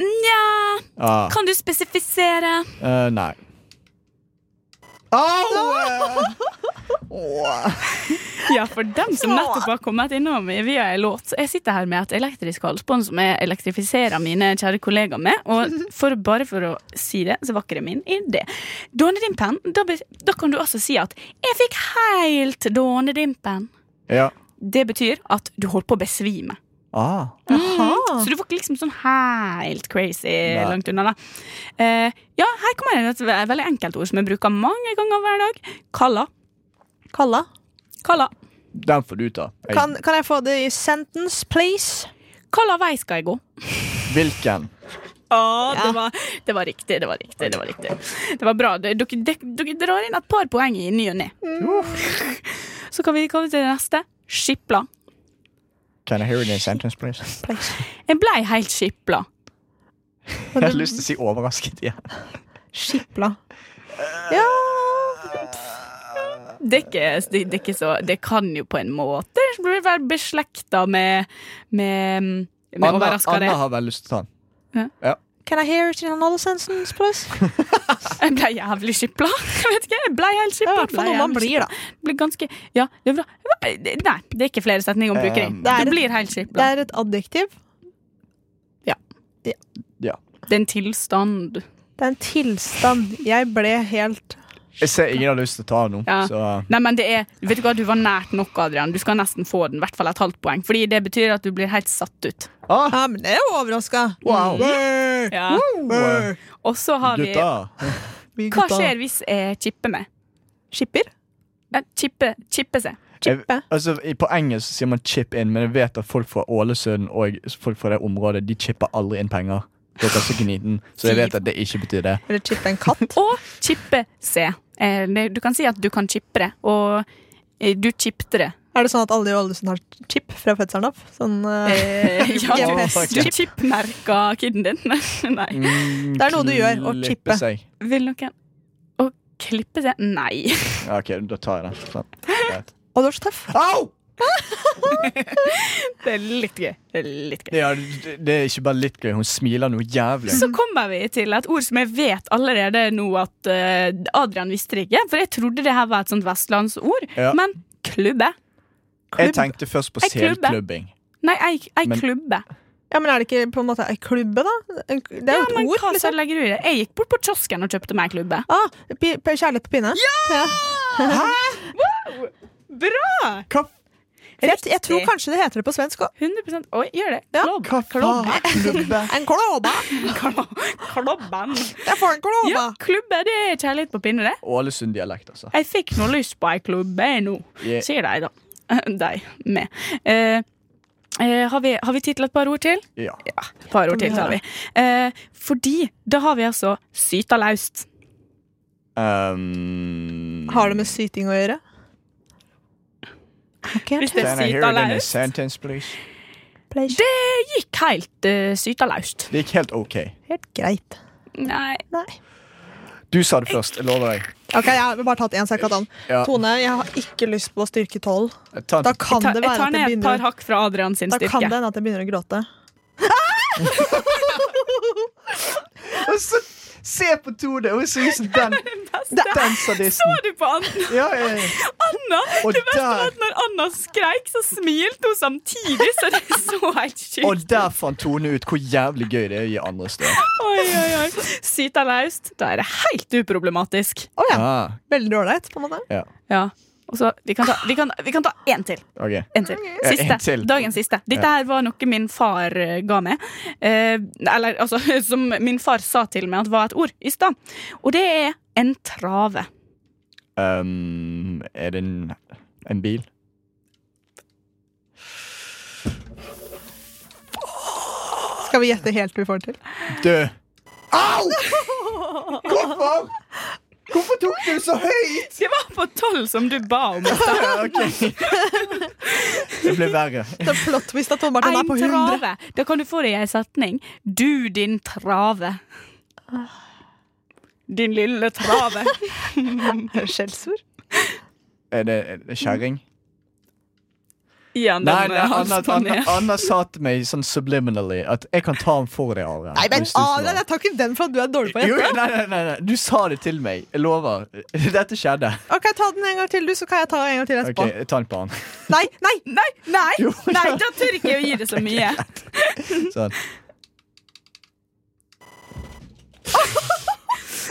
Nja,
Ah,
kan du spesifisere?
eh, nei. Au!
Ja, for dem som nettopp har kommet innom via en låt, så jeg sitter her med et elektrisk halsbånd som jeg elektrifiserer mine kjære kollegaer med. Og for, bare for å si det, så var ikke det min idé. Dånedimpen, da, be- da kan du også si at 'jeg fikk helt dånedimpen'.
Ja.
Det betyr at du holdt på å besvime.
Ah.
Så du var ikke liksom sånn helt crazy
Nei.
langt unna, da. Eh, ja, her kommer et ve- veldig enkelt ord som jeg bruker mange ganger hver dag. Kalla.
Kalla.
Kalla.
Den får du ta. Jeg,
Kan, kan jeg få det i sentence, please?
Kalla vei skal jeg gå.
Hvilken?
Ja, det, var, det var riktig. Det var riktig, det var riktig. Det var bra. Dere, dere, dere drar inn et par poeng i ny og ne. Så kan vi komme til det neste. Skipla.
Can I hear it in a sentence, please?
Jeg blei helt skipla.
Jeg har lyst til å si overrasket igjen.
Skipla. Ja
Det, er ikke- det, det, er ikke så- det kan jo på en måte være beslekta med, med, med
Anna, Anna
overraskende.
har vel lyst til å ta den.
Can I hear it in another sentence, please?
Jeg blei jævlig skipla. Jeg vet ikke, jeg blei helt
Det er i
skipla.
hvert fall noe man blir, da.
Ble ganske, ja, det er bra. Nei, det er ikke flere setninger å bruke.
Um,
Um,
Det er et-
du blir helt
Det
skipla.
er et adjektiv.
Det er en tilstand.
Det er en tilstand. Jeg ble helt
Jeg ser ingen har lyst til å ta den nå,
Ja.
så
Nei, men det er, vet du hva, du var nært nok, Adrian. Du skal nesten få den, i hvert fall et halvt poeng. Fordi det betyr at du blir helt satt ut.
ah,
Ja, men det er jo Mm. overraska.
Wow.
Ja. Og så har vi
Gutta.
Hva skjer hvis jeg chipper meg?
Skipper?
Eh, Chippe, chippe seg.
Jeg,
Chippe.
altså, i- på engelsk sier man 'chip in', men jeg vet at folk fra Ålesund og folk fra det området De chipper aldri inn penger. Dere er så gniten, så jeg vet at det ikke betyr det.
Eller chippe en katt?
Og chippe seg. Eh, det- Du kan si at du kan chippe det, og eh, du chippte det.
Er det sånn at alle i Ålesund har chip fra fødselen av? Sånn, eh,
Eh, ja, Mm.
GPS.
du du chippmerka kiden din. Nei.
Mm, Det er noe du gjør, å
Mm, Klippe
chippe.
Seg.
Vil noen Å klippe seg? Nei.
Ja, OK, da tar jeg den. Sånn. Greit.
Å, du er så tøff.
Au!
Det er litt gøy. Det er litt gøy.
Ja, det, det er ikke bare litt gøy. Hun smiler noe jævlig.
Mhm.
Så kommer vi til et ord som jeg vet allerede nå at eh, Adrian visste det ikke, for jeg trodde det her var et sånt vestlandsord.
Ja.
Men klubbe?
Jeg tenkte først på
Ei klubbe.
eh?
selklubbing.
Nei, ei, ei
Men-
klubbe.
Ja, men er det ikke på en måte ei klubbe, da? En- Det er jo et
Men
ord,
hva så
liksom.
legger du i det? Jeg gikk bort på kiosken og kjøpte meg ei klubbe.
Ah, pi- p- kjærlighet på pinne? Ja!
Hva,
Jeg, jeg tror kanskje det heter det på svensk òg.
100 Oi, gjør det.
Ja.
Klobb.
hva faen? Klubbe?
En klåba!
Klobben.
Jeg får en klåba!
Ja, klubbe det er kjærlighet på pinne, det.
Ålesund-dialekt, altså.
Jeg fikk nå lyst på ei klubbe nå.
Yeah.
Sier de, da. De. Med. Eh, eh, har vi, har vi tid til et par ord til?
Ja.
Et par ord til, tar vi. Eh, fordi da har vi altså syta laust.
Um,
Har det med syting å gjøre? Ok,
Hvis det
Can I
er
hear
syta
it in a
laust.
sentence, please?
Det gikk helt uh, syta laust.
Det gikk helt OK.
Helt greit.
Nei.
Nei.
Du sa det først. Jeg lover deg.
Ok, Jeg har bare tatt én, så jeg kan ta den.
Ja.
Tone, jeg har ikke lyst på styrke tolv.
Ta en
Da kan
Ta,
det
jeg
være
tar
at jeg
ned et par
begynner,
hakk fra Adrian sin
da kan
styrke.
det hende at jeg begynner å gråte.
Og så se på Tone! Hun ser ut som den, den sadisten.
Var du på Anna?
Ja, ja, ja.
Anna?
Og
Det verste var
der-
at når Anna skreik, så smilte hun samtidig, så det er så helt
Og
sjukt.
der fant Tone ut hvor jævlig gøy det er å gi andre støv.
Oi, oi, oi. Syta laust. Da er det helt uproblematisk.
Å ja.
Ah,
Veldig ålreit, på en måte.
Ja. Og så, vi kan ta- vi kan vi kan ta én til.
ok.
En til.
Ja,
Siste.
en til.
Dagens siste. Dette her var noe min far eh, ga meg. Eh, eller altså, som min far sa til meg at var et ord i stad. Og det er en trave.
Um, er det en, en bil?
Skal vi gjette helt til vi får det til?
Død! Au! Hvorfor? Hvorfor tok du så høyt?
Det var på tolv som du ba om.
Det ble verre.
Det er flott hvis at Tom Martin er
Ein
på 100.
trave. Da kan du få det i ei setning. Du, din trave. Din lille trave.
Skjellsord.
Er det er det kjerring?
Ja, den,
Nei, nei,
eh,
Anna,
halsen
Anna,
ned.
Anna sa til meg sånn subliminally at jeg kan ta den for deg, Adrian.
Nei, men
hvis du slår.
Adrian, jeg tar ikke den for at du er dårlig på å
Jo,
gjette.
nei, nei, nei, nei, du sa det til meg. Jeg lover. Dette skjedde.
Ok, Ta den en gang til, du, så kan jeg ta en gang til
Ok,
etterpå.
Ta den på han.
Nei, nei,
Nei, nei,
Jo,
nei, da tør ikke jeg å gi det så mye.
Sånn.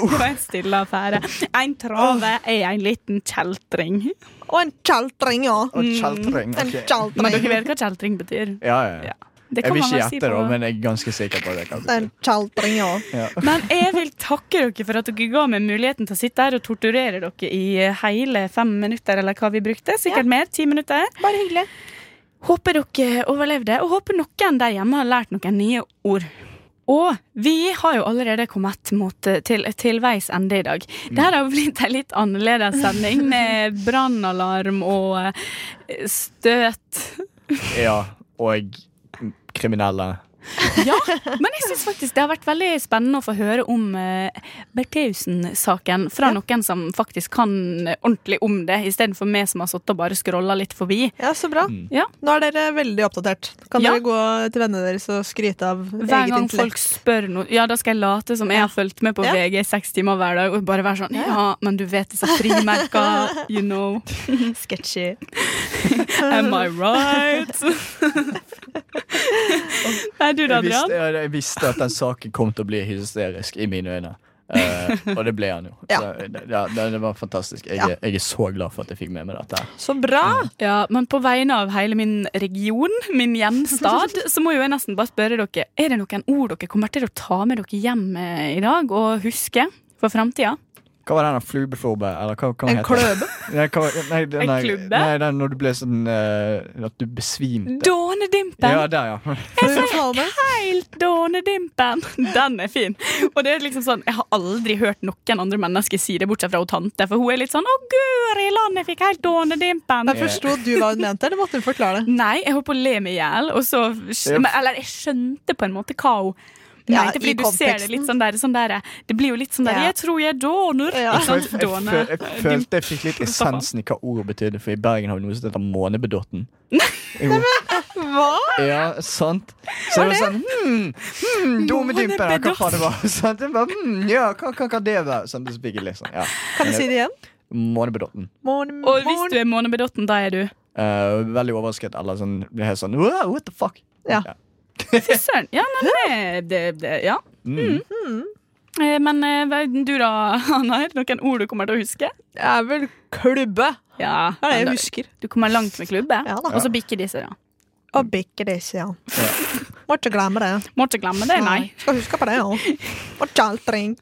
Det var en stille affære. En trave er en liten kjeltring.
Og en kjeltring, ja.
Og kjeltring. ok.
En
Men dere
kjeltring.
vet hva kjeltring betyr.
Ja, ja.
Ja. Det
Jeg
kan
vil
man
ikke
vel si
gjette, da,
på-
men jeg er ganske sikker på det. kan
En
du si.
kjeltring, ja.
Men jeg vil takke dere for at dere ga meg muligheten til å sitte her og torturere dere i eh, hele fem minutter, eller hva vi brukte. Sikkert mer. Ti minutter.
Bare hyggelig.
Håper dere overlevde, og håper noen der hjemme har lært noen nye ord. Og vi har jo allerede kommet mot, eh, til, til veis ende i dag.
Mm.
Det her har jo blitt en litt annerledes sending med brannalarm og eh, støt.
Ja, og kriminelle.
Ja, men jeg syns faktisk det har vært veldig spennende å få høre om eh, Bertheussen-saken fra noen som faktisk kan eh, ordentlig om det, istedenfor meg som har sittet og bare scrolla litt forbi.
Ja, Så bra.
Ja.
Nå er dere veldig oppdatert. Kan
Ja.
dere gå til vennene deres og skryte av
Hver
eget
gang folk
intellekt?
spør noe Ja, da skal jeg late som jeg har fulgt med på
Ja.
VG i seks timer hver dag. Og bare være sånn Ja, men du vet disse frimerka. You know.
Sketchy.
Am I right? Nei, du da,
Jeg visste, jeg,
Adrian?
jeg visste at den saken kom til å bli hysterisk i mine øyne. Eh, og det ble han jo.
Ja.
Så, det- ja, det, det var fantastisk. Jeg,
Ja.
jeg er så glad for at jeg fikk med meg dette. her.
Så bra!
Ja, men på vegne av hele min region, min hjemstad, så må jo jeg nesten bare spørre dere Er det noen ord dere kommer til å ta med dere hjem eh, i dag og huske for framtida?
Hva var den der flubeforbe? Eller hva, hva
En
heter det?
kløbe.
Nei, hva, nei, den
En
der-
klubbe?
Nei, den når du ble sånn eh, At du besvimte.
Dånedimpen!
Ja, der, ja.
Fru Palme.
Helt dånedimpen. Den er fin. Og det er liksom sånn, Jeg har aldri hørt noen andre mennesker si det, bortsett fra hun tante. For hun er litt sånn 'Å, guri land, jeg fikk helt dånedimpen'.
Jeg forsto du hva hun mente, eller måtte hun forklare det?
Nei, jeg holdt på å le meg i hjel. og så- men- Eller jeg skjønte på en måte hva hun
Ja,
mente.
i
fordi du ser det
konteksten.
litt sånn der, sånn der Det blir jo litt sånn der
Ja.
'Jeg tror jeg er dåner'.
Ja.
Ikke sant?
Jeg, jeg,
Dåne.
føl- jeg følte jeg fikk litt essensen i hva ordet betydde, for i Bergen har vi noe som heter månebedotten. Jo,
Hva?
ja, sant? Så det var sånn hmm, hmm, Dumme dimper, ja, hva faen det var? Sant? Jeg bare, hmm, ja, hva, hva kan det være? Sånn, det spikket litt sånn, ja.
Kan du si det igjen?
Månebedotten.
Morgen,
Og hvis
morgen.
du er månebedotten, da er du
Eh, veldig overrasket, eller sånn, blir helt sånn wow, what the fuck?
Ja.
Fy søren. Ja, nei, men det, det, det Ja.
Mm.
Eh, Men eh, hva- du da, Anna? er det Noen ord du kommer til å huske?
Jeg er vel klubbe,
Ja,
er det
men
jeg
da-
husker.
Du kommer langt med klubbe,
Ja da.
og så bikker disse. da
Og bikker det ikke, ja. Må ikke glemme det.
Må ikke glemme det, nei.
Skal huske på det, ja. Og kjeltring.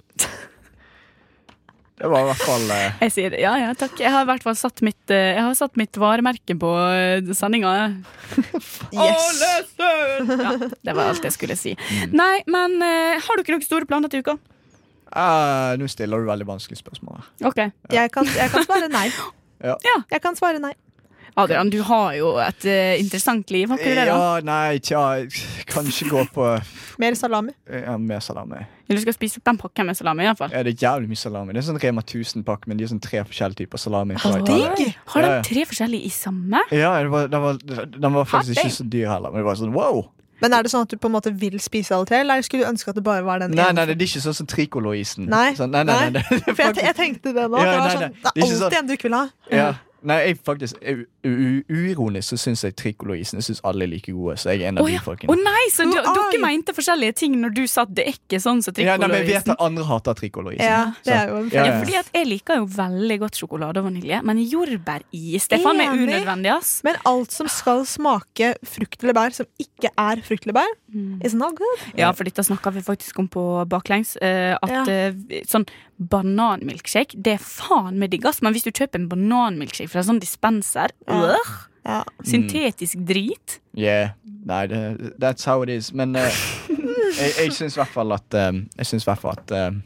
Det var i hvert fall eh,
Jeg sier ja, ja, takk. Jeg har i hvert fall satt mitt, eh, jeg har satt mitt varemerke på eh, sendinga.
Yes.
Ja, det var alt jeg skulle si. Nei, men eh, har dere noen store planer til uka?
eh, Nå stiller du veldig vanskelige spørsmål her.
Ok.
Jeg kan, jeg kan svare nei.
Ja.
Ja.
Jeg kan svare nei.
Adrian, du har jo et eh, interessant liv, har ikke du det? da?
Ja, nei, tja, kanskje gå på eh,
Mer salami.
ja, mer salami.
Eller Du skal spise opp den pakken med salami, iallfall.
Ja, det er jævlig mye salami. Det er sånn Rema 1000-pakke, men de er sånn tre forskjellige typer salami. fra Italia.
Digg! Har
Ja,
de
ja.
tre forskjellige i samme?
Ja, det var, den, var, den var faktisk
Hot
ikke så dyr heller, men det var sånn wow!
Men er det sånn at du på en måte vil spise alle tre, eller skulle du ønske at det bare var den
Nei, nei,
ene?
det er ikke sånn som Tricolo-isen.
Nei,
Sånn, nei, nei, nei, det- det er
For jeg,
faktisk-
jeg tenkte det nå.
Ja,
det, var
nei, nei.
sånn,
Det
det
er
er
ikke
alltid
sånn-
en du ikke vil ha.
ja. Nei, jeg faktisk u- u- Uironisk så syns jeg Tricolo-isen Jeg syns alle er like gode, så jeg er en av
Å
de
ja.
folkene.
Å nei, så
Å,
d-
ai.
dere mente forskjellige ting når du sa at det er ikke sånn som
ja, nei, men jeg vet
trikkoloisen.
at andre hater Tricolo-isen.
Ja, det er jo en
Ja,
Ja,
ja.
fordi at jeg liker jo veldig godt sjokolade og vanilje, men jordbæris det er faen meg
Enig.
unødvendig. ass
Men alt som skal smake frukt eller bær som ikke er frukt eller bær, is not good.
Ja, for dette snakka vi faktisk om på baklengs. eh, at
Ja.
eh, vi- sånn bananmilkshake, det er faen meg digg, ass. Men hvis du kjøper en bananmilkshake fra sånn dispenser
Ja.
øh,
Ja.
Mm.
Syntetisk drit.
Yeah. Nei, det, that's how it is. Men eh, jeg, jeg syns i hvert fall at eh, Jeg syns i hvert fall at eh,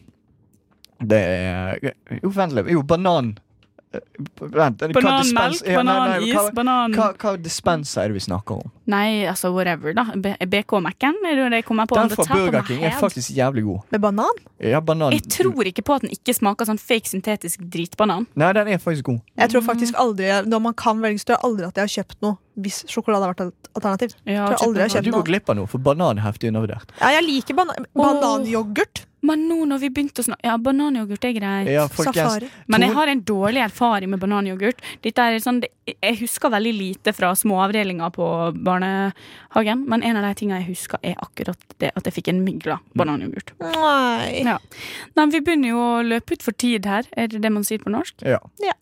Det er Jo, vent litt. Jo, banan. Eh, Vent, hva dispens-
Bananmelk,
ja, nei, nei,
bananis,
hva-
banan...
Hva, hva dispenser er det vi snakker om?
Nei, altså whatever, da. B- BK Mac-en, er det det jeg kommer på?
Den
the
fra
top of
Burger
my
King er
head.
faktisk sånn- jævlig god.
Med banan?
Ja, banan
Jeg tror ikke på at den ikke smaker sånn fake syntetisk dritbanan.
Nei, den er faktisk god.
Jeg tror faktisk aldri Når man kan velge, så tror jeg aldri at jeg har kjøpt noe hvis sjokolade har vært et alternativ.
Ja,
Tror jeg aldri jeg har
Du
kjøpt
går
noe.
glipp av noe, for banan er heftig undervurdert.
Ja, jeg liker bana bananyoghurt.
Men nå når vi begynte å snakke Ja, bananyoghurt er greit.
Ja, folkens,
Safari.
Men jeg
Tror-
har en dårlig erfaring med bananyoghurt. Dette er sånn, det- jeg husker veldig lite fra småavdelinga på barnehagen, men en av de tingene jeg husker, er akkurat det at jeg fikk en mygla bananyoghurt.
Nei.
Nei, men Vi begynner jo å løpe ut for tid her, er det det man sier på norsk?
Ja.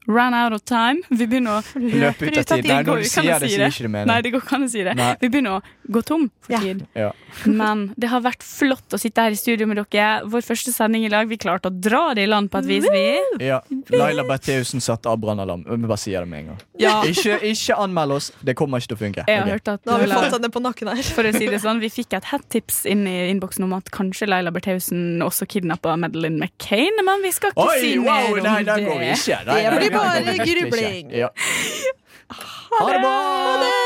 Run out of time. Vi begynner å
Løp ut av tid. Nei, når
Det går
du
jo ikke an å
sier det,
si
sier
det.
ikke det
Nei,
mening.
det går ikke an å si det.
Nei.
Vi begynner å gå tom for
Ja.
tid.
Ja.
Men det har vært flott å sitte her i studio med dere. Vår første sending i lag. Vi klarte å dra det i land på et vis, vi.
Ja. Laila Bertheussen satte av brannalarm. Vi bare sier det med en gang.
Ja.
Ikke, ikke anmeld oss. Det kommer ikke til å funke.
Jeg har
Ok.
hørt at
Nå har vi
Laila-
fått henne på nakken her.
For å si det sånn, Vi fikk et hat-tips inn i innboksen om at kanskje Laila Bertheussen også kidnappa Madeleine McCain, men vi skal ikke si
Oi,
mer
wow!
om
Nei, der går vi
det.
ikke. Nei,
Det
nei, der
blir
går
bare
vi virkelig ikke.
grubling.
Ja. Ha det bra!